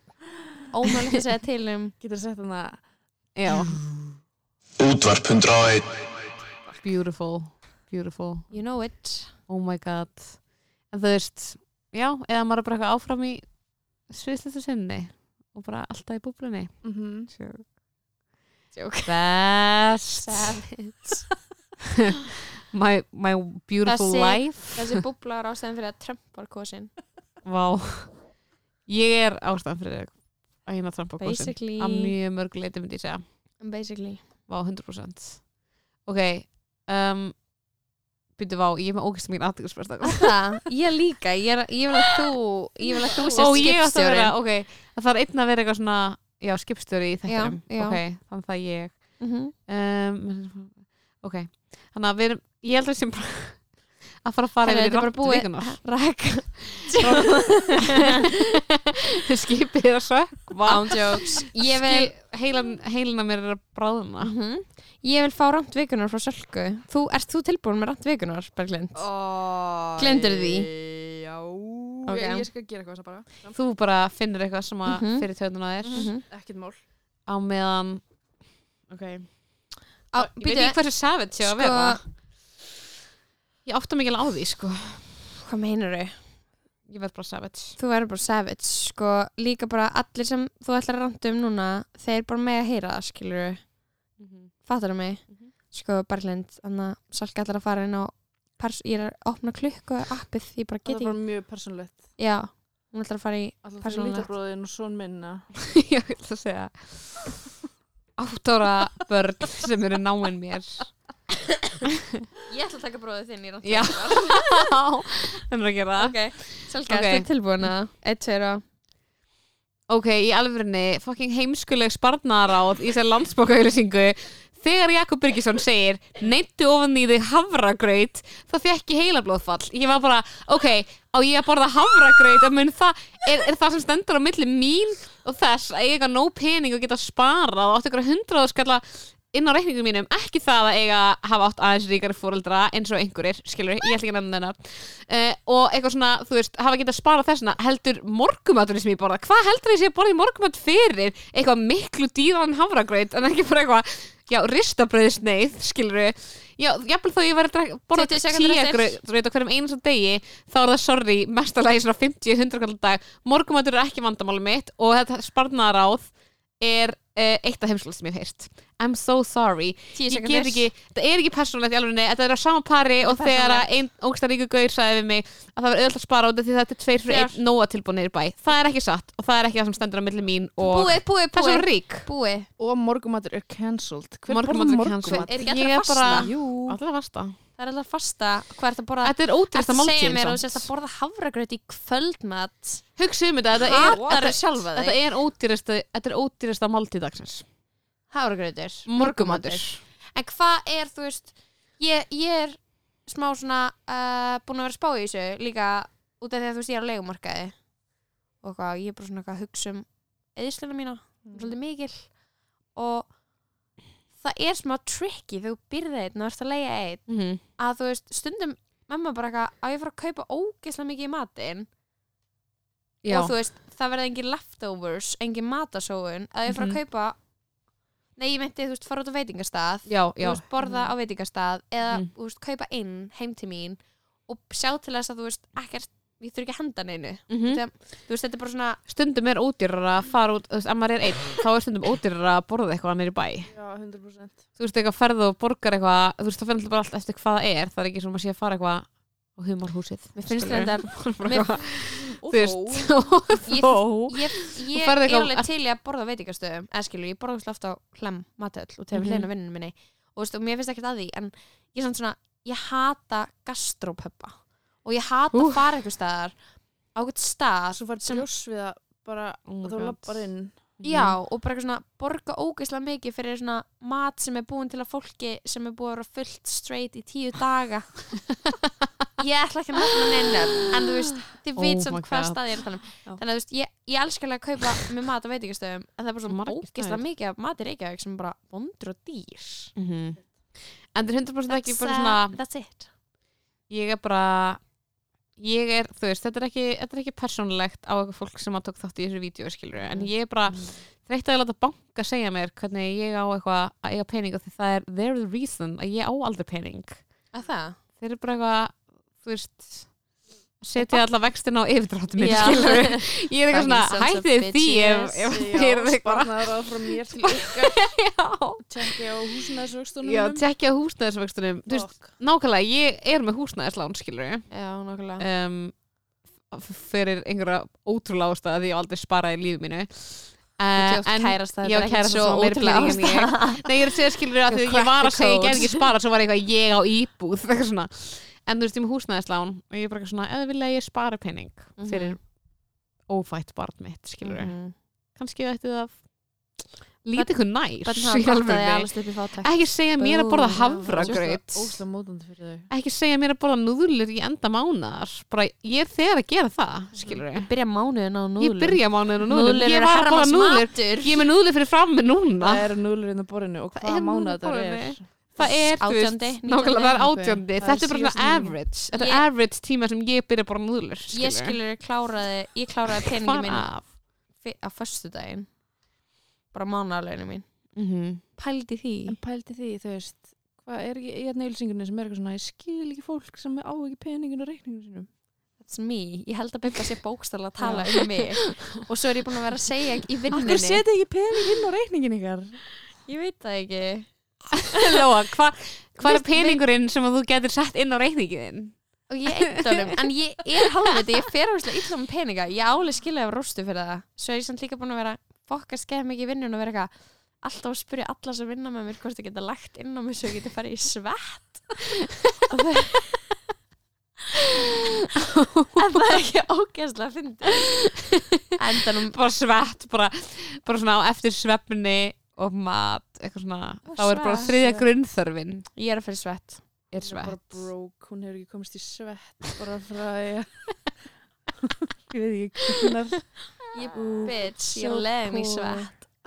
ómögulegt að segja til um Getur sett hann að já, Útvarp 101 beautiful beautiful, you know it oh my god en þú veist, já, eða maður er bara eitthvað áfram í sviðslistu sinni og bara alltaf í búblunni mm best savage my, my beautiful Þessi- life þessi búbla er ástæðan fyrir að Trump var kosin Vá Ég er ástæðan fyrir að hérna trampa á kosin basically að mjög mörg leiti myndi ég segja basically Vá, 100% Ok um, Býttu vá, ég er með ógæstum mín aðtíkurspersta það, ég líka, ég, er, ég vil að þú ég vil að þú Ó, sést ég átti að vera, skipstjórin ok Það þarf einn að vera eitthvað svona Já, skipstjóri í þættinum Já, já. Ok, þannig það ég Mhm. um, Ok, þannig að við erum Ég held að við sem bara að fara að fara Herra, yfir þetta er bara búið. vikunar (laughs) Ræk Skipið er að sökva án jokes ég vil, Skil- heilan, heilan að mér er að bráðuna Mhm. ég vil fá rámt vikunar frá Sölku þú, ert þú tilbúin með rámt vikunar, Berglind? oh, Gleymdirðu því? Já, Ok. ég skal gera eitthvað þess að bara þú bara finnir eitthvað sem að Mhm. fyrir töðuna þér Mhm. Ekkert mál á meðan ok Á, ég veit býtu, ekki hversu savage ég á að Sko- vera ég átta mikið á því sko hvað meinar þau? ég verð bara savage þú verður bara savage, sko líka bara allir sem þú ætlar að ranta um núna þeir bara með að heyra það, skilur fattar þú mig? Mhm. sko, Berglind, þannig að Sölku ætlar að fara inn á pers- ég er að opna klukku appið, ég bara Það get er bara ekki mjög persónulegt já, hún ætlar að fara í Alltaf fyrir Persónulegt. lítabróðin og són minna (laughs) ég vil það segja átt ára börn sem eru náinn mér ég ætla að taka bróðið þinn í rámt (laughs) já þannig að gera það ok, Ok. Sölka, okay. ertu tilbúin að eitt, tveir og ok, í alvörinni fucking heimskuleg sparnaráð í þessar landsbókauðlýsingu Þegar Jakob Byrgisson segir neyndu ofan í þig havragraut þá fekk ég heilablóðfall ég var bara, ok, á ég að borða havragraut en mun það, er, er það sem stendur á milli mín og þess að eiga nóg pening og geta sparað og átt ykkur hundrað og skalla inn á reikningum mínum, ekki það að eiga hafa átt aðeins ríkari fóreldra eins og einhverjir skilur, ég ætla ekki að nefna þennar uh, og eitthvað svona, þú veist, hafa getað sparað þessna heldur morgumaturinn sem ég borða hvað heldur ég sé að borða í morgumat fyrir eitthvað miklu dýran hafragraut en ekki bara eitthvað, já, ristabröðsneið skilur við, já, jafnvel þó ég verið að drekka- borða 20 sekúndur eftir. tíagraut á hverjum einasta degi, þá er það sorry mestalagi svona 50-100 kallar dag morgumatur er ekki vandamáli mitt og þetta sparnaráð er uh, eitt af heimslega sem ég hef heyrt I'm so sorry Tíu ég get sekúndur. ekki, þetta er ekki persónulegt í alvegni þetta er á sama pari og þegar að ein ógsta ríku gaur sagði við mig að það var auðvitað að spara út af því þetta er tveir fyrir Þrjár. einn nóa tilbúinir í bæ það er ekki satt og það er ekki það sem stendur á milli mín og Búið, búið, þessu búið. rík Búið. Og morgumatur er cancelled. Hver Morgunmatur borðar er morgunmat? cancelled. Er ekki allir Ég er að Ah, fasta? bara- Jú. alltaf vasta Það er alltaf fasta. Hvað er þetta að borða? þetta er ótrýsta Ertu að segja máltíðin mér að þú sérst að borða hafragraut í kvöldmat? hugsa um þetta þetta er, Hatar þetta, sjálfa þetta þig? er ódýrasta þetta er ódýrasta máltíð dagsins Hafragrautur. morgumatur En hvað er, þú veist, ég, ég er smá svona uh, búin að vera að spá í þessu líka út af því að þú veist ég er á leigumarkaði og hvað, ég er bara svona eitthvað að hugsa um eðisluna mína, Mm. hún er svolítið mikil og það er smá tricky þegar þú byrðið einn og ert að leiga einn mm -hmm. að þú veist, stundum mamma bara eitthvað, á ég að fara að kaupa ógeðslega mikið í matinn já, og þú veist, það verða engin leftovers engin matasóun, að ég að fara Mhm. að kaupa nei, ég meinti, þú veist, fara út á veitingastað já, þú já veist, borða á veitingastað eða Mhm. þú veist, kaupa inn heim til mín og sjá til þess að þú veist ekkert, ég þurfi ekki að henda neinu Mhm. þú veist, þetta er bara svona stundum er ódýrar að fara út þú veist, ef maður er einn, þá er stundum ódýrar að borða eitthvað annir í bæ, Já, 100%. þú veist eitthvað ferð og borgar eitthvað, þú veist það finnst bara allt eftir hvað það er það er ekki sem maður sé að fara eitthvað á humarhúsið mér finnst Skilurðu? (laughs) þetta Bara mér- eitthvað, Og þú veist (laughs) og Ég- þó ég, ég er ferð eitthvað- alveg til í að borða á veitingastöðum eða skilur, ég borða óslega oft á hlem matöll og tegum Mhm. mm hleina vinninu minni og, veist, og mér finnst ekkert að því, en ég er samt svona ég hata gastrópöppa og ég hata Úff. að fara eitthvað staðar á eitthvað stað Svo færði sem, ljós við að bara, Oh my oh þú God. lappar inn. Mhm. já, og bara eitthvað svona borga ógeðslega mikið fyrir svona mat sem er búin til að fólki sem er búin að vera fullt straight í tíu (laughs) daga ég ætla ekki að nefna neina en þú veist, þið Oh veit samt my hvað God. stað ég er að tala um Já. þannig að þú veist, ég, ég elskar alveg að kaupa með mat á veitingastöðum en það er bara svona Margir ógeðslega staðir. mikið af mat í Reykjavík sem er bara vondur og dýr Mhm. en það er 100% ekki bara uh, svona That's it ég er bara ég er, þú veist, þetta er ekki, þetta er ekki persónulegt á eitthvað fólk sem að tók þátt í þessu vídeo skilur, Mm. en ég er bara þreytt að ég láta banka segja mér hvernig ég á eitthvað að eiga pening og því það er they're the reason að ég á aldrei pening Að það? þeir eru bara eitthvað þú veist setja alla vextin á yfirdráttum minn Já. skilur ég er eitthvað Fucking svona sons of hættið því ef, bitches. ef (laughs) þið Já, eru eitthvað sparnaður frá mér til ykkar. (laughs) já, Tjekki á húsnæðisvöxtunum. já tekja húsnæðisvöxtunum þú veist, nákvæmlega, ég er með húsnæðislán skilur (laughs) Já, nokkulega um, f- fyrir einhverja ótrúlega ástæða því ég á aldrei sparaði í lífi mínu uh, en Kærast það já, kærast það meiri pening en ég Nei, ég er að segja skilur að því að ég var að segja ég get ekki sparað, svo var eitthvað ég á íbúð (laughs) eitthvað svona. en þú veist, ég er með húsnæðislán og ég er bara eitthvað svona, eða vilja ég spara pening Mhm. fyrir ófætt barn mitt skilur mm -hmm. kannski ætti það lítið ykkur nær Bönn (laughs) í hafa gott að ég alvörunni. alveg upp í fátak ekki segja mér að borða Bú, já. hafragraut Ósla mótandi fyrir þau. ekki segja mér að borða núðlur í enda mánar bara ég er þegar að gera Mhm. það skilur Ég byrja mánuðin á núðlum ég byrja mánuður og núðlur núðlum ég var að borða núðlur núðlur ég er með núðlur fyrir fram með núna Það eru núlur inn á borðinu og Það hvað eru núlur á mánuð þetta borðinu. er. það er, þú veist, Átjándi, nákvæmlega, það er nítjándi. átjöndi Það er þetta er bara svona síðasta núna. average þetta er Ég- average tíma sem ég byrja bara núðlur Ég skilur kláraði Ég kláraði peningi Hvað minn af fi- á föstudaginn Bara mánuðalöginu mín Mhm. Pældi því En pældi því, þú veist, hvað er ekki, ég er neilsingurinn sem er eitthvað svona, ég skil ekki fólk sem á ekki peningin og reikningin sínum. That's me, ég held að Bubba sé bókstala að tala um mig og svo er ég búin að vera að segja í vinninni, Akkur setja ekki peningin og reikningin ykkar? ég veit það ekki Lóa, hva- hvað er Veist- peningurinn sem að þú getur sett inn á reikningin og ég eitt honum, en ég er halvviti ég fer áherslega illa um peninga, ég álega skilja af rústu fyrir það, svo er ég samt líka búin að vera fokka skeið mikið í vinnun og vera eitthvað alltaf að spyrja alla sem vinna með mér hvort þið geta lagt inn á mig svo ég geta farið í svett Og (laughs) það- en það er ekki ógeðslega að fyndi endanum bara svett, bara, bara svona á eftir svefni og og mat, eitthvað svona Og þá er bara svett. þriðja grunnþörfin Ég er að fyrir svett. er Hún er bara svett broke, hún hefur ekki komist í svett bara frá því að (laughs) ég veit ekki hvernar Ég, Ú, bitch, so cool.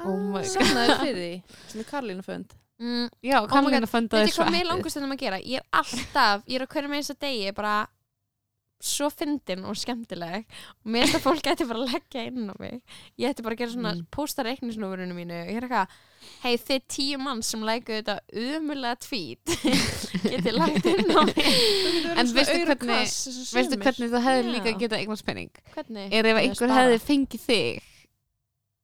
Oh my god. Sannaði fyrir því, sem er Karlínu fönd Mm, Já, my Karolina God. föndaði Veitir hvað mér svett langur stundum að gera? Ég er alltaf, ég er á hverju með þess að degi bara svo fyndin og skemmtileg og mér finnst að fólk gæti bara að leggja inn á mig ég ætti bara að gera svona, Mm. posta reiknisnúverinu mínu og ég er eitthvað, hei þið tíu mann sem lækuðu þetta umulega (laughs) tvít getið lagt inn á mig En veistu hvernig- Veistu hvernig þú hefði Já. líka getað eignast penning? hvernig? Er ef Eða einhver spara. hefði fengið þig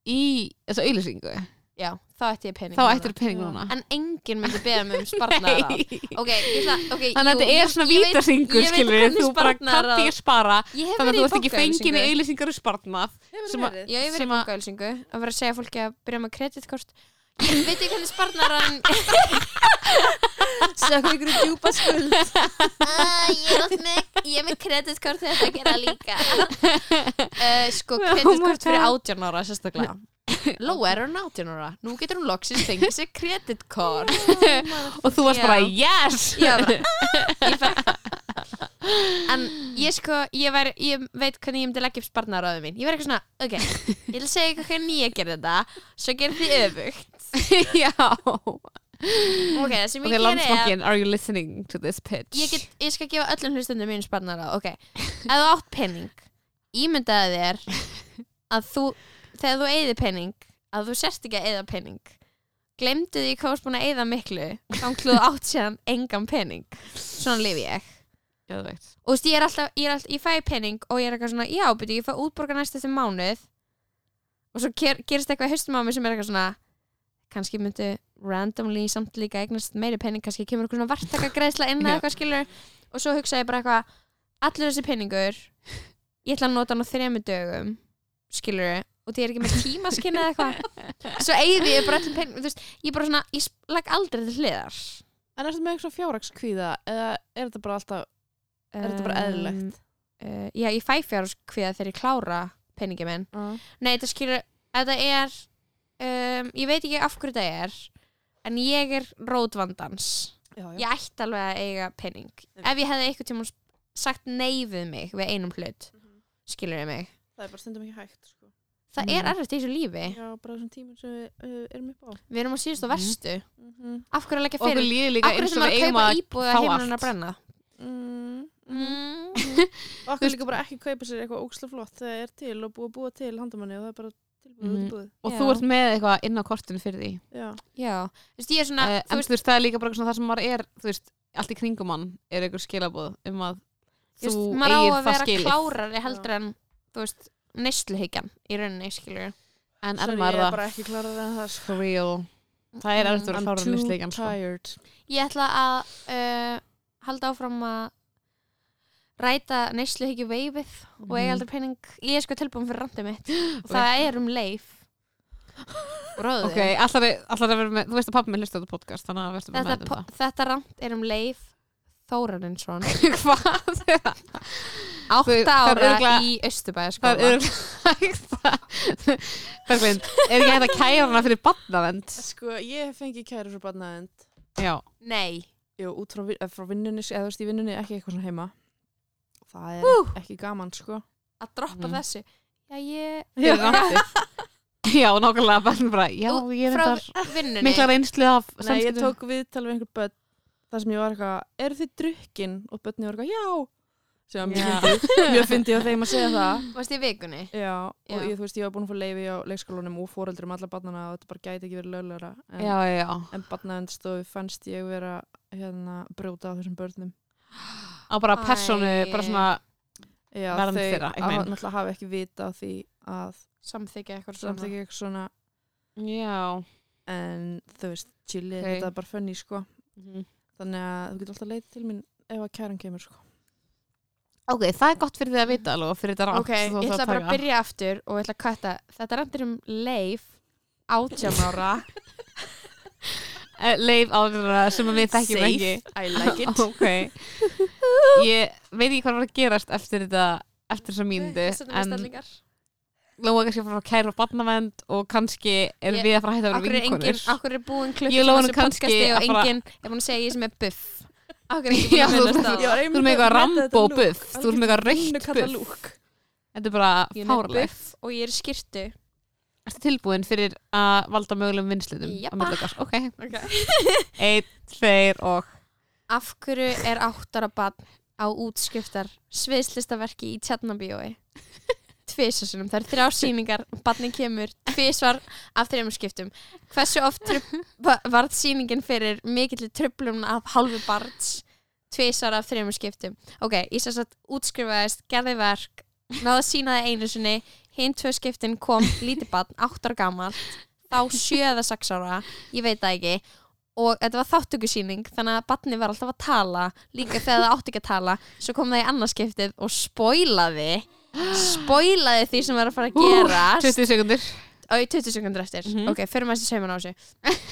í þessa auðlýsingu, Já, þá ætti ég pening þá núna. ættir penning núna. en enginn myndi beða mig um sparnar Nei. ok, ég ætla, ok Þannig að jú, þetta ég- er svona ég veit- vítasingur, ég veit skilur við, hvernig þú bara sparnaðar kannt að- ég spara, Ég hef þannig að verið þú í ert ekki fengin í bankaauglýsingu. auðlýsingar og sparnað. sem að- Já, ég verið sem að- bankaölsingu að vera að segja fólki að byrja með kreditkort Ég veit ekki hvernig sparnar hann (laughs) Sækku ykkur djúpa skuld ég, er oft með, ég er með kreditkort þegar það gera líka uh, Sko, Oh my kreditkort fyrir God. 18 ára sérstaklega (laughs) Lóa er hann 18 ára Nú getur hún loksins fengið sér (laughs) kreditkort Og þú varst Já. bara, yes! (laughs) Já, bara, ég fer- En ég sko, ég, var, ég veit hvernig ég myndi leggja upp sparnaráðu mín Ég verið eitthvað svona, ok, ég vil segja ykkur hvernig ég gerði þetta Svo gerði því öfugt Já. Ok, það sem Ok, ég gerði er landsmokkin, are you listening to this pitch? ég, get, ég skal gefa öllum hlustundum mínu sparnaráð ok, ef þú átt penning ímyndaði þér að þú, þegar þú eyði penning að þú sérst ekki að eyða penning glemdu því hvað þú varst búin að eyða miklu ganglu þú átt séðan engan penning svona lifi ég Já, þú veit. og þú veist, ég er alltaf, ég er alltaf, ég fæ penning og ég er eitthvað svona, já, byrju, ég fæ útborga næst eftir mánuð og svo ger, gerist eitthvað í haustum á mig sem er eitthvað svona kannski myndu randomly samt líka eignast meiri penning, kannski kemur eitthvað svona vartaka inn (laughs) Já. að eitthvað skilur og svo hugsa ég bara eitthvað, allur þessi penningur ég ætla að nota hann á þremu dögum skilur og því ég er ekki með tímaskinn eða eitthvað (laughs) svo eigði ég bara öllum penning, þú veist, ég bara svona ég legg aldrei til hliðar En erstu með eitthvað fjárrakskvíða eða er þetta bara alltaf, er þetta Um, bara eðlilegt? uh, já, ég fæ fjárhagskvíða þegar ég klára peningi minn. Nei, þetta skilur, þetta er, um, ég veit ekki af hverju þetta er, en ég er rótvandans. Já, já. Ég ætti alveg að eiga pening. Einmitt. Ef ég hefði einhvern tíma sagt nei við mig við einum hlut, Mhm. skilur ég mig. Það er bara stundum ekki hægt sko. Það er Mm. erfitt í þessu lífi. Já, bara þessum tímum sem við uh, erum upp á Við erum á síðust og Mhm. verstu. mm -hmm. Af hverju að leggja Og okkur fyrir? líður líka Af hverju eins sem og að við eigum kaupa að fá íbúið að heimilin allt. Mhm. að brenna? mm. Mm. Og Þú okkur líka bara ekki kaupa sér eitthvað óksla flott þegar er til og búið að búa til handamanni og það er bara tilbúið Mhm. mm. útbúið Og þú Já. ert með eitthvað inn á kortinu fyrir því. Já, Já, þú veist, ég er svona, Eh, Hérna, þú en veist, þú veist, það er líka bara svona það sem maður er þú veist, allt í kringum mann er einhver skilabóð um að Þú þú veist, maður á eigir það að vera skilið klárari heldur en þú veist, neysluhyggjan í rauninni, skilur en er sorry, ég maður er það bara ekki klarað en það sko. for real það Mm, er erfitt að vera I'm klárari too nýstleikan sko. tired ég ætla að uh, halda áfram að ræta neysluhyggju veifið og eiga Mhm. aldrei pening ég er sko tilbúin fyrir randið (laughs) mitt og það er um leif bróður ok, allar að vera með þú veist að pappi minn hlusta á þetta podcast þannig að um verður þetta, með po- þetta rand er um leif (laughs) Þórarinsson um það hvað? Þau- það 8 er ára örugglega- í Östubæðaskóla það er örugglega (laughs) Berglind, er ekki hægt að kæra hana fyrir badnavend? Sko, ég hef fengið kæru frá barnaðend já, nei, Jú, út frá, vin- eh, frá vinnunni, eða þú veist í vinnunni ekki eitthvað svona heima Það er Ú. ekki gaman, sko að droppa Mm. þessu já ég fyrir náttið (laughs) já, nákvæmlega Berglind bara, já, Ú, ég er frá þetta vinnunni mikla reynslu af Nei, ég samskiptum. tók viðtal við einhver börn þar sem ég var eitthvað, eru þið drukkin? Og börnni var eitthvað, já sem var mjög fyndið, mjög fyndið á þeim að segja það varst í vikunni Já, Já. og ég, þú veist, ég var búin að fá leifi á leikskólanum og fóreldrum alla barnana og þetta bara gæti ekki verið löglegra en, já, já, já en barnaðendstofu fannst ég vera hérna, brjóta á þessum börnum á bara personu, Æ. bara svona Já, Vernd þau þeirra, einhvern hafa- veginn. náttúrulega hafa ekki vita á því að samþykja eitthvað samt ekki eitthvað svona já en þú veist, chillið, Ok. þetta er bara funny sko Mhm. þannig að þú getur alltaf leitið til mín ef að kæran kemur sko ok, það er gott fyrir þið að vita alveg og fyrir þetta rátt ok, ég ætla bara að byrja aftur og ég ætla að kvæta þetta rendir um leif átján ára (laughs) byrja Eh, leif ára sem að við þekkjum ekki I like it (laughs) ok ég veit ekki hvað var að gerast eftir þetta eftir þessa mínundu en en... Lóa er kannski að fara að kæra barnavend og kannski er Ég- við að fara að hætta að Akkur vera er, engin, vinkonir akkur er búin klukk Ég lóa honum kannski og að fara- enginn er búin að segja ég sem er buff Akkur er (laughs) ekki Já, búin að þú- minnast á þú það ert með eitthvað Rambo buff þú ert með eitthvað raukt buff buff þetta er bara Ég er með fárlegt buff og ég er í skyrtu Ertu tilbúin fyrir að valda mögulegum vinslitum? Jeppa. Ok. Einn, tveir og... Af hverju er áttara barn á útskriftar sviðslistaverki í (laughs) Tjarnabíói? Tvisasunum, það eru þrjá sýningar barni kemur tvisvar af þrejum skiptum. Hversu oft trub- va- varð sýningin fyrir mikill tröflum af hálfu barns tvisvar af þrejum skiptum? Ok, ég sess að útskrifaðist, gerði verk náða að sína það einu sinni hinn tvö skiptin kom lítið barn áttara gamalt, þá sjö eða sex ára ég veit það ekki og þetta var þáttökusýning þannig að batni var alltaf að tala líka þegar það átti ekki að tala svo kom það í annarskiptið og spoilaði spoilaði því sem var að fara að gerast 20 sekundur. og í 20 sekundur eftir Mhm. ok, fyrir maður sem sauman á þessu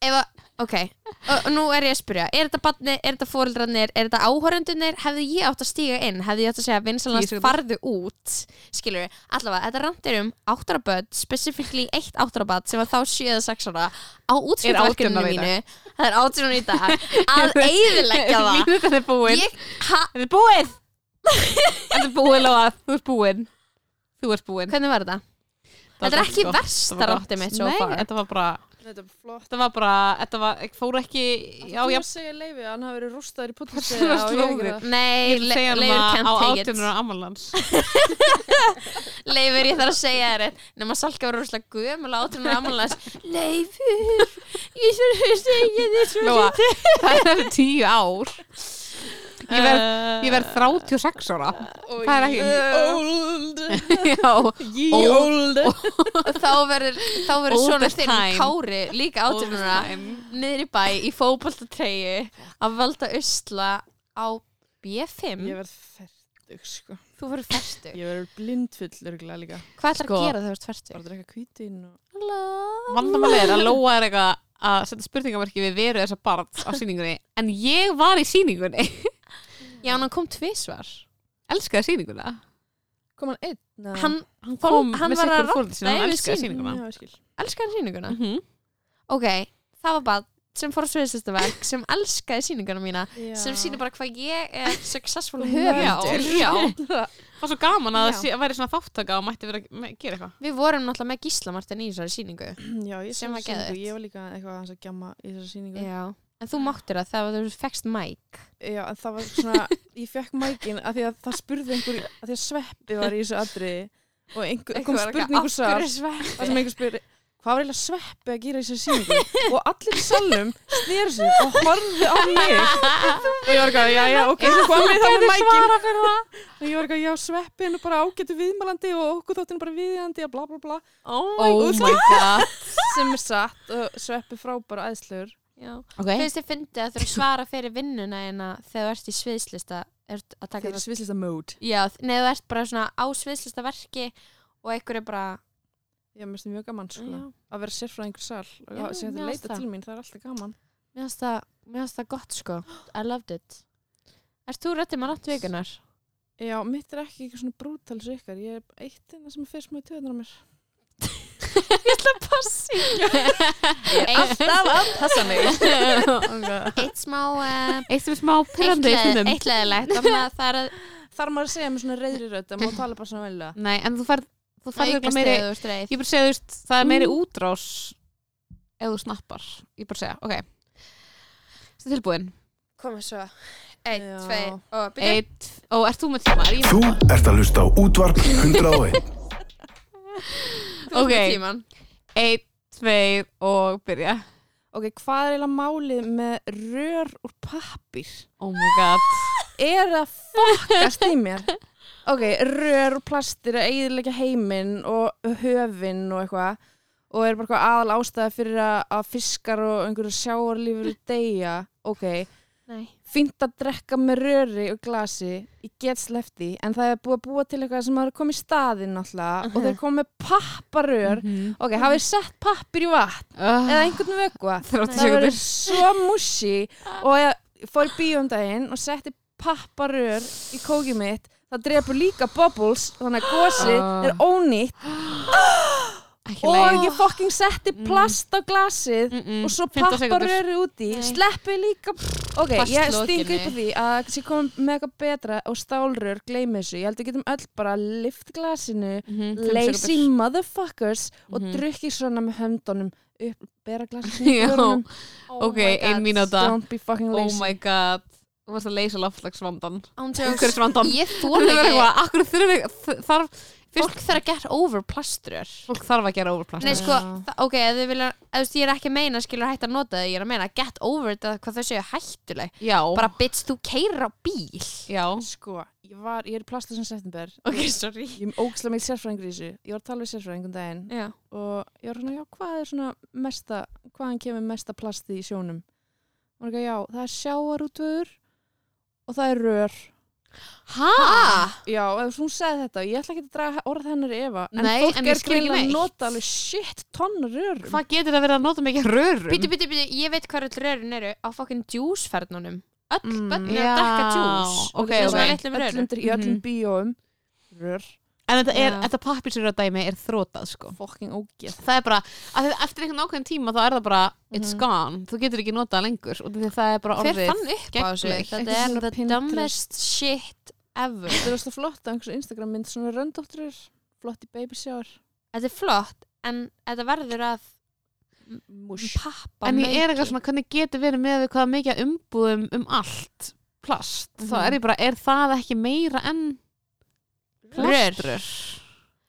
ef að, ok og, og nú er ég að spyrja, er þetta batni, er þetta fóreldrarnir er þetta áhorendunir, hefði ég átt að stíga inn hefði ég átt að segja vinsalans Tíu sekúndur. farðu út skilur við, allavega, þetta randir um áttaraböð, specifíkli eitt áttaraböð sem var þá 7-6 ára á útskjöldverkinu ára í dag. mínu það er átjónu í dag (laughs) að eyðileggja það Mínútan er búin. ég, ha, Þetta er (laughs) búin. Þetta er búin, Lóa. Þú ert búin. Þú ert búin. hvernig var þetta? Það Þetta er var ekki gott. versta Það var ráttið gott. mitt so far. Nei, þetta var bara... Þetta er flott Þetta var bara... Þetta var, fór ekki... Já, Já, já. ég segja leifi að hann hafi verið rústaður í Það pottasega var og ég ekki það nei, Ég vil segja Leifur hann að á can't take it 18 ára ammálans. Leifur, ég þarf að segja þér eitt nema Salka var rúslega gömul átunar amalans Leifur, ég þarf að segja þér svo Lóa, (laughs) það er tíu ár. Ég verð, Eh. ég verð 36 ára. Það er ekki... Old Já. Ye Old. old og þá verður þá verður All the svona þinn time. Kári líka átunar Ótrúlega. niður í bæ í fótboltatreyju að valda usla á B5 Ég verð fertug sko þú verður færtu Ég verður blindfull örgulega líka hvað ætlar Sko. að gera þegar þú ert Bara færtu? að drekka kvítin og vandamál er að Lóa er eitthvað að setja spurningamarki við veru þessa barn á sýningunni en ég var í sýningunni já, en hann kom tvisvar elskaði sýninguna Kom hann einn? hann, hann Fór- kom hann með var að sikkur fóröldi sinna radda hann yfir elskaði sýninguna Já, ég skil elskar hann síninguna mm -hmm. ok, það var bara sem fór á sviðslistaverk sem elskaði síninguna mína sem sýnir bara hvað ég er successful höfundur Já, já. (laughs) var svo gaman að Já. það sé- væri svona þáttaka og mætti vera að gera eitthvað við vorum náttúrulega með Gísla Martin í þessari sýningu Já, Sem ég sem var var geðið geðveikt. Ég var líka eitthvað aðeins að gjamma í þessari sýningu já. en þú máttir það þegar þú fekst mæk Já, en það var svona, ég fekk mækin að því að það spurði einhver, að því að sveppi var í þessu atriði og einhver, kom um spurningu svar, það sem einhver spurði, hvað var eiginlega sveppi að gera í þessu síningu? og allir í salnum snéru sig og horfðu á mig og ég var eitthvað, já, já, ok, svo kom ég það með mækin fyrir það og ég var eitthvað, já, sveppi er nú bara ágætu viðmælandi og okkur þáttinu bara viðjandi og bla, bla, bla, oh my god (laughs) sem er satt og sveppi frábær og æðslur. okay. finnst þið fyndið að þú svara fyrir vinnuna eina þegar þú ert í sviðslista ert að taka Þeir það svislista mode. já, nei, þú ert bara svona á sviðslistaverki og einhver er bara Ég finnst það mjög gaman, sko, já, að vera sérfræðingur sal og Já, að- sem þetta mér fannst leita það. til mín, það er alltaf gaman. mér finnst það- mér finnst það gott sko I loved it Erst þú rættið maður nátt vikunar? Já, mitt er ekki eitthvað svona brútal svo ykkar. Ég er eitt en það sem er fyrst með töðunar á (laughs) mér. Passi Alltaf að passa mig. Eitt smá uh, eitt sem er smá pyrrandi eitt leðilegt það er að Þar maður að segja með svona reyðri rödd að maður tala bara svona velja. nei en þú færð þú færð aukast eitthvað meiri þegar þú ert reið. ég bara segja þú veist það er meiri útrás ef þú snappar ég bara segja ok þetta tilbúin Komum svo Eitt, Já. tveir og byrja Eitt, og ert þú með tíma? Er ég með Þú ert að hlusta á útvarp 101. Þú ert með ok. tímann. Eitt, tveir og byrja Ok, hvað er eiginlega málið með rör úr pappir? Oh my god Er það fokkast í mér? Ok, rör úr plastir að eiginlega heiminn og höfinn og eitthvað og er bara eitthvað aðal ástæða fyrir að- að fiskar og einhverju sjáarlífur deyja. Ok, Nei fínt að drekka með röri og glasi ég get slefti, en það er búið að búa til eitthvað sem er komið í staðinn alltaf og þeir komið með papparör Mhm. Mm. ok, hafið þið sett pappir í vatn Ah, eða einhvern vöggva Þrjótti það verður sekundur svo um musi og ég fór í bíóndaginn og setti papparör í kókið mitt það drefur líka bubbles þannig að gósið Ah. er ónýtt Ekki og leið. Mm. ég fokking setti plast á glasið Mm-mm. og svo 15 pappar sekúndur. eru úti Nei. sleppi líka ok, ég Plastlokinni. stingi upp á því að kannski komum með eitthvað betra og stálrör gleymi þessu, ég held við getum öll bara lift glasinu Mhm, fimm lazy sekúndur. motherfuckers og Mhm. drukkið svona með höndunum upp, bera (laughs) glasinu í Já, görunum ok, ein mínúta don't be fucking Oh lazy my god Þú varst að leysa loftlagsvandan Ándjóks, Umhverfisvandan ég Það þóla er ekki eitthvað, akkur þurfum við þ- þarf, Fólk þarf að get over plaströr Fólk þarf að gera Nei, overplast sko, þa- ok, ef þið vilja ef þú veist, ég er ekki að meina, skilur hægt að nota það ég er að meina, get over þetta, hvað þau séu hættuleg Já, bara, bitch, þú keirir á bíl já Sko, ég, var, ég er plastur sem september Ok, sorry Ég er ógislega mikið sérfræðingur í þessu Ég var að tala við sérfræðingum daginn Já, og ég var svona, já, hvað er svona mesta, hvaðan kemur mesta plasti í sjónum? Og hann ekki, já, það er sjáarútvöður og það er rör. ha? Já, ef hún segði þetta, ég ætla ekki að draga orð hennar í efa, en Nei, fólk en ég er skil ekki greinilega að neitt. nota alveg shit tonna rörum. Hvað getur að vera að nota mikið rörum? Býtu, býtu, býtu, ég veit hvað öll rörin eru á fokkin djúsfernunum Öll Mm, börn eru að drekka djús ok, Það er svona ok. litlum rörum Öllum, í öllum Mhm. bíóum, rör, En þetta, er, Já. þetta pappisröðdæmi er þrótað sko fucking ógeð. Það er bara, af því að eftir einhvern ákveðin tíma þá er það bara, it's Mhm. gone Þú getur ekki notað lengur og því það er bara Hver orðið fann upp á þessu? gegglegt. Þetta Eitthvað er svona the Pinterest. dumbest shit ever Þetta er alltaf flott á einhversu Instagram mynd, svona röndótturur, flott í babysjáar, Þetta er flott, en þetta verður að mush. pappa En ég er meiki. eitthvað svona, hvernig getur verið með hvað mikið af umbúðum um allt plast, þá Mhm. er ég bara, er það ekki meira en plaströr?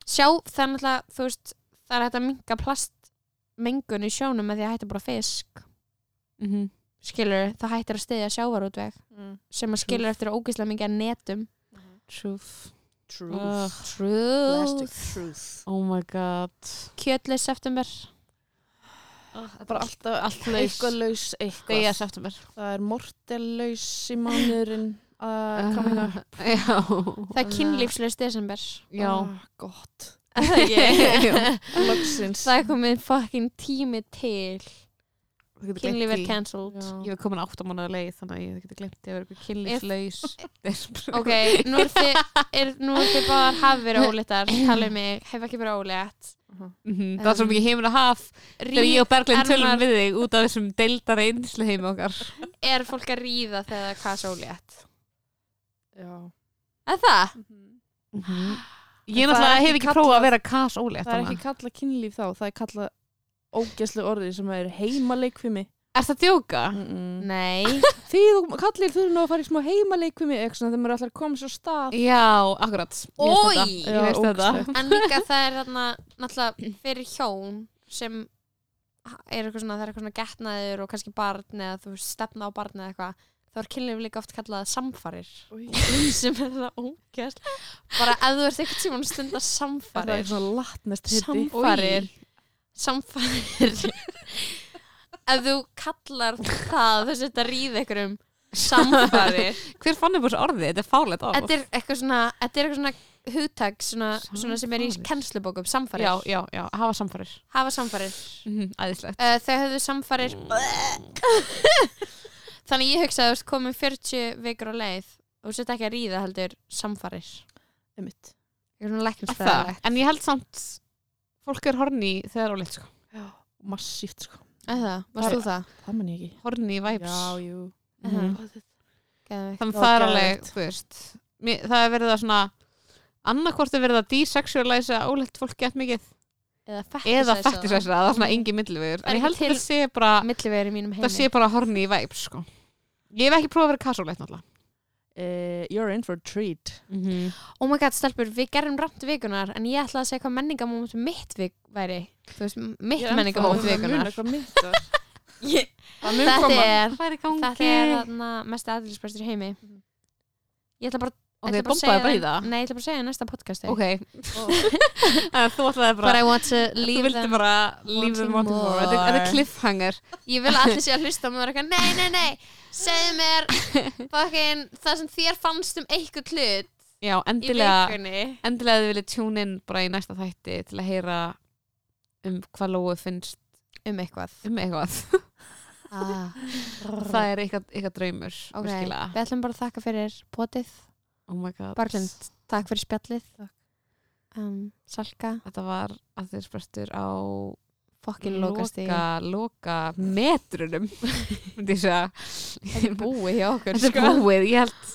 Sjá, það er náttúrulega, þú veist, það er hægt að minka plastmengun í sjónum með því að hætta bara fisk Mm -hmm. skilur, það hættir að stiðja sjávarútveg Mm. sem að skilur eftir ógíslega mikið að netum Truth Truth. Plastic Truth truth. Oh my god Kjötleis september Bara alltaf, Allt laus. eitthvað laus, eitthvað. Deyja september Það er mortellaus í mánuðurinn að koma hérna. up Já, Það er kynlífslaus desember já Ah, gott. (laughs) Jú. Loksins. Það er komið fucking tími til Kynlíf er cancelled Já. Ég er komin átt á mánuða leið þannig að ég geti glemt ég að vera eitthvað kynlífslaus (laughs) Ok, nú er þið, er, nú er þið báðar hafi verið (coughs) óléttar Talið mig, hef ekki verið ólétt Mhm, Það er svo mikið heimur að haf þegar ég og Berglind tölum við þig út af þessum deildara einslu heim okkar Er fólk að ríða þegar hvað er svo ólétt? Já. Er það? Ég En það er náttúrulega ekki hef ekki kallað- prófað að vera kas ólétt Það er annað. ekki kallað kynlíf þá, það er kallað ógæslu orðið sem er heimaleikfimi. Er það djóka? Mm. (laughs) Nei Því þú kallir þurfum nú að fara í smá heimaleikfimi eitthvað svona þegar maður ætlar að koma sér á stað. Já, akkurat Ég veist þetta. Oj! Ég veist Já, þetta ógeðslegt. En líka það er þarna náttúrulega fyrir hjón sem er eitthvað svona, það er eitthvað svona getnaður og kannski barn eða þú veist, stefna á barn eða eitthvað þá er kynlíf líka oft kallað samfarir (laughs) sem er það ógæst bara ef þú ert eitthvað tíma að stunda Það er samfarir svona latnest hitti. samfarir samfarir ef þú kallar það þess að þetta ríð ykkur um samfarir Hver fann upp þessu orði? Þetta er fálegt orð þetta er eitthvað svona, þetta er eitthvað svona hugtak svona, svona sem er í Samfarir. kennslubókum samfarir Já, já, já, hafa samfarir hafa samfarir Mhm, Æðislegt uh, þau höfðu samfarir (laughs) þannig ég hugsaði þú veist komið 40 vikur á leið og þú sett ekki að ríða heldur samfarir Einmitt. ég er svona Það, læknisfræðilegt En ég held samt Fólk er horni þegar ólétt sko Massíft sko. er það, varst þú það? Það man ég ekki. Horni væps Já, jú. Mhm. Mhm. Geðveikt. Þannig það er Já, geðveikt. alveg, þú veist mér, Það er verið að svona annarkvort er verið að desexualiza ólétt fólk gett mikið eða eða fetisæsa fettisæsa, það er svona engi millivegur er en ég ekki held til- að það sé bara millivegur í mínum heimi það sé bara horni í væp sko. ég hef ekki prófað að vera kasóleitt náttúrulega Eh, You're in for a treat. mm -hmm. oh my god stelpur, við gerum ramt vikunar en ég ætlaði að segja hvað menningamóment mitt vik væri þú veist, mitt menningamóment vikunar (laughs) Það mun þetta koma. er það er í gangi þetta er þarna mest aðlisbæstur heimi ég ætla bara, ok, ætla bara að bombaði segja bara í það það nei, ég ætla bara að segja í næsta podcasti ok, (laughs) En þú ætlaði But bara I want to þú leave vildi them bara leave them wanting more Þetta er- þetta er cliffhanger Ég (laughs) vil að allir sé að hlusta og maður er eitthvað Nei, nei, nei, segðu mér fucking, það sem þér fannst um eitthvað hlut já, í endilega vikunni endilega ef þið viljið tune in bara í næsta þætti til að heyra um hvað Lóu finnst Um eitthvað um eitthvað ah, það er eitthvað, eitthvað draumur Ok, virkilega. við ætlum bara að þakka fyrir potið oh my god Berglind, takk fyrir spjallið Takk. um, Salka, þetta var að þeir spurtur á fokkin lokast í loka, loka metrunum (laughs) myndi ég segja Þetta er búið hjá okkur sko. þetta er búið, ég held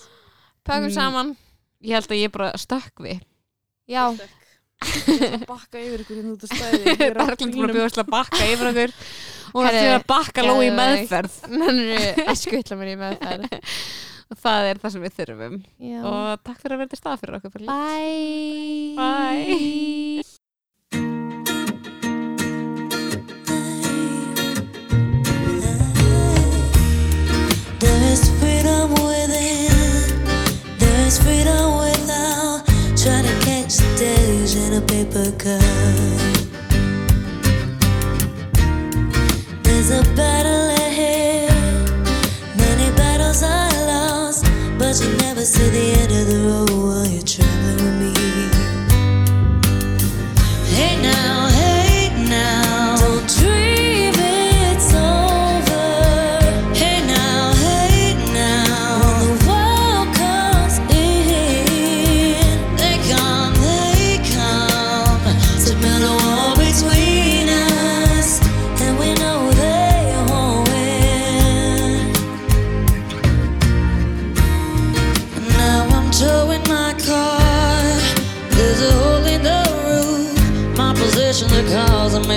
Pökum Mm. saman ég held að ég bara stökk við Já, (laughs) bakka yfir ykkur hérna út á stæði Ég er á Berglind búin að bílnum. bjóðast að bakka yfir okkur og Herri, það er að bakka lói í geðveikt. meðferð mennur að skutla mér í meðferð og það er það sem við þurfum Já. og takk fyrir að vera til stað fyrir okkur Berglind. Bye Bye. There's freedom within, there's freedom without. Trying to catch the days in a paper cup. There's a battle ahead, many battles are lost, but you never see the end of the road while you're traveling with me. Hey now, hey now, don't dream it's over. Hey now, hey now, when the world comes in, they come, they come to build a wall between us, and we know they won't win. Now I'm towing my car. There's a hole in the roof. My position the cause of my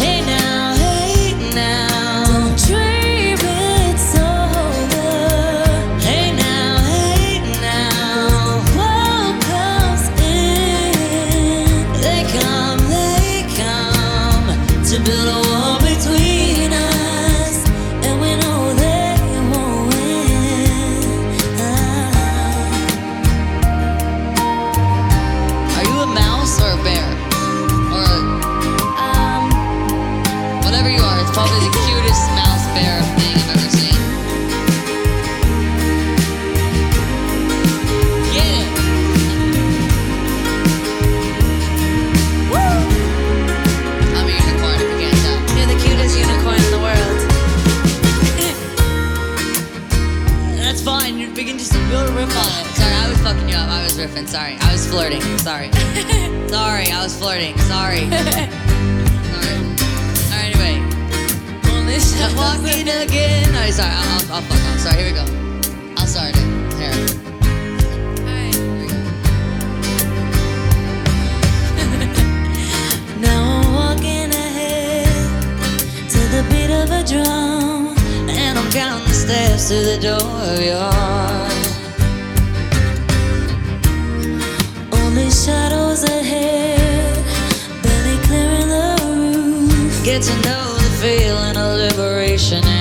Hey now, hey now, don't dream it's over. Hey now, hey now, world comes in. They come, they come to build a wall between us, and we know they won't win. Are you a mouse or a bear or a? Um. Whatever you are, it's probably the cutest mouse bear thing I've ever seen. Get it! Woo! I'm a unicorn, if you can't tell. You're the cutest unicorn in the world. (laughs) That's fine, you're beginning to build a riff on it. Sorry, I was fucking you up. I was riffing, sorry. I was flirting, (laughs) sorry. sorry, I was flirting, (laughs) sorry. sorry. Alright, anyway. Only I'm walking again. Oh, sorry, I'll, I'll, I'll fuck off. Sorry, here we go. I'll start it. Here. Alright, here we go. (laughs) now I'm walking ahead to the beat of a drum. And I'm counting the steps to the door of your heart. Only shadows ahead, barely clearing the roof. Get to know the feeling of liberation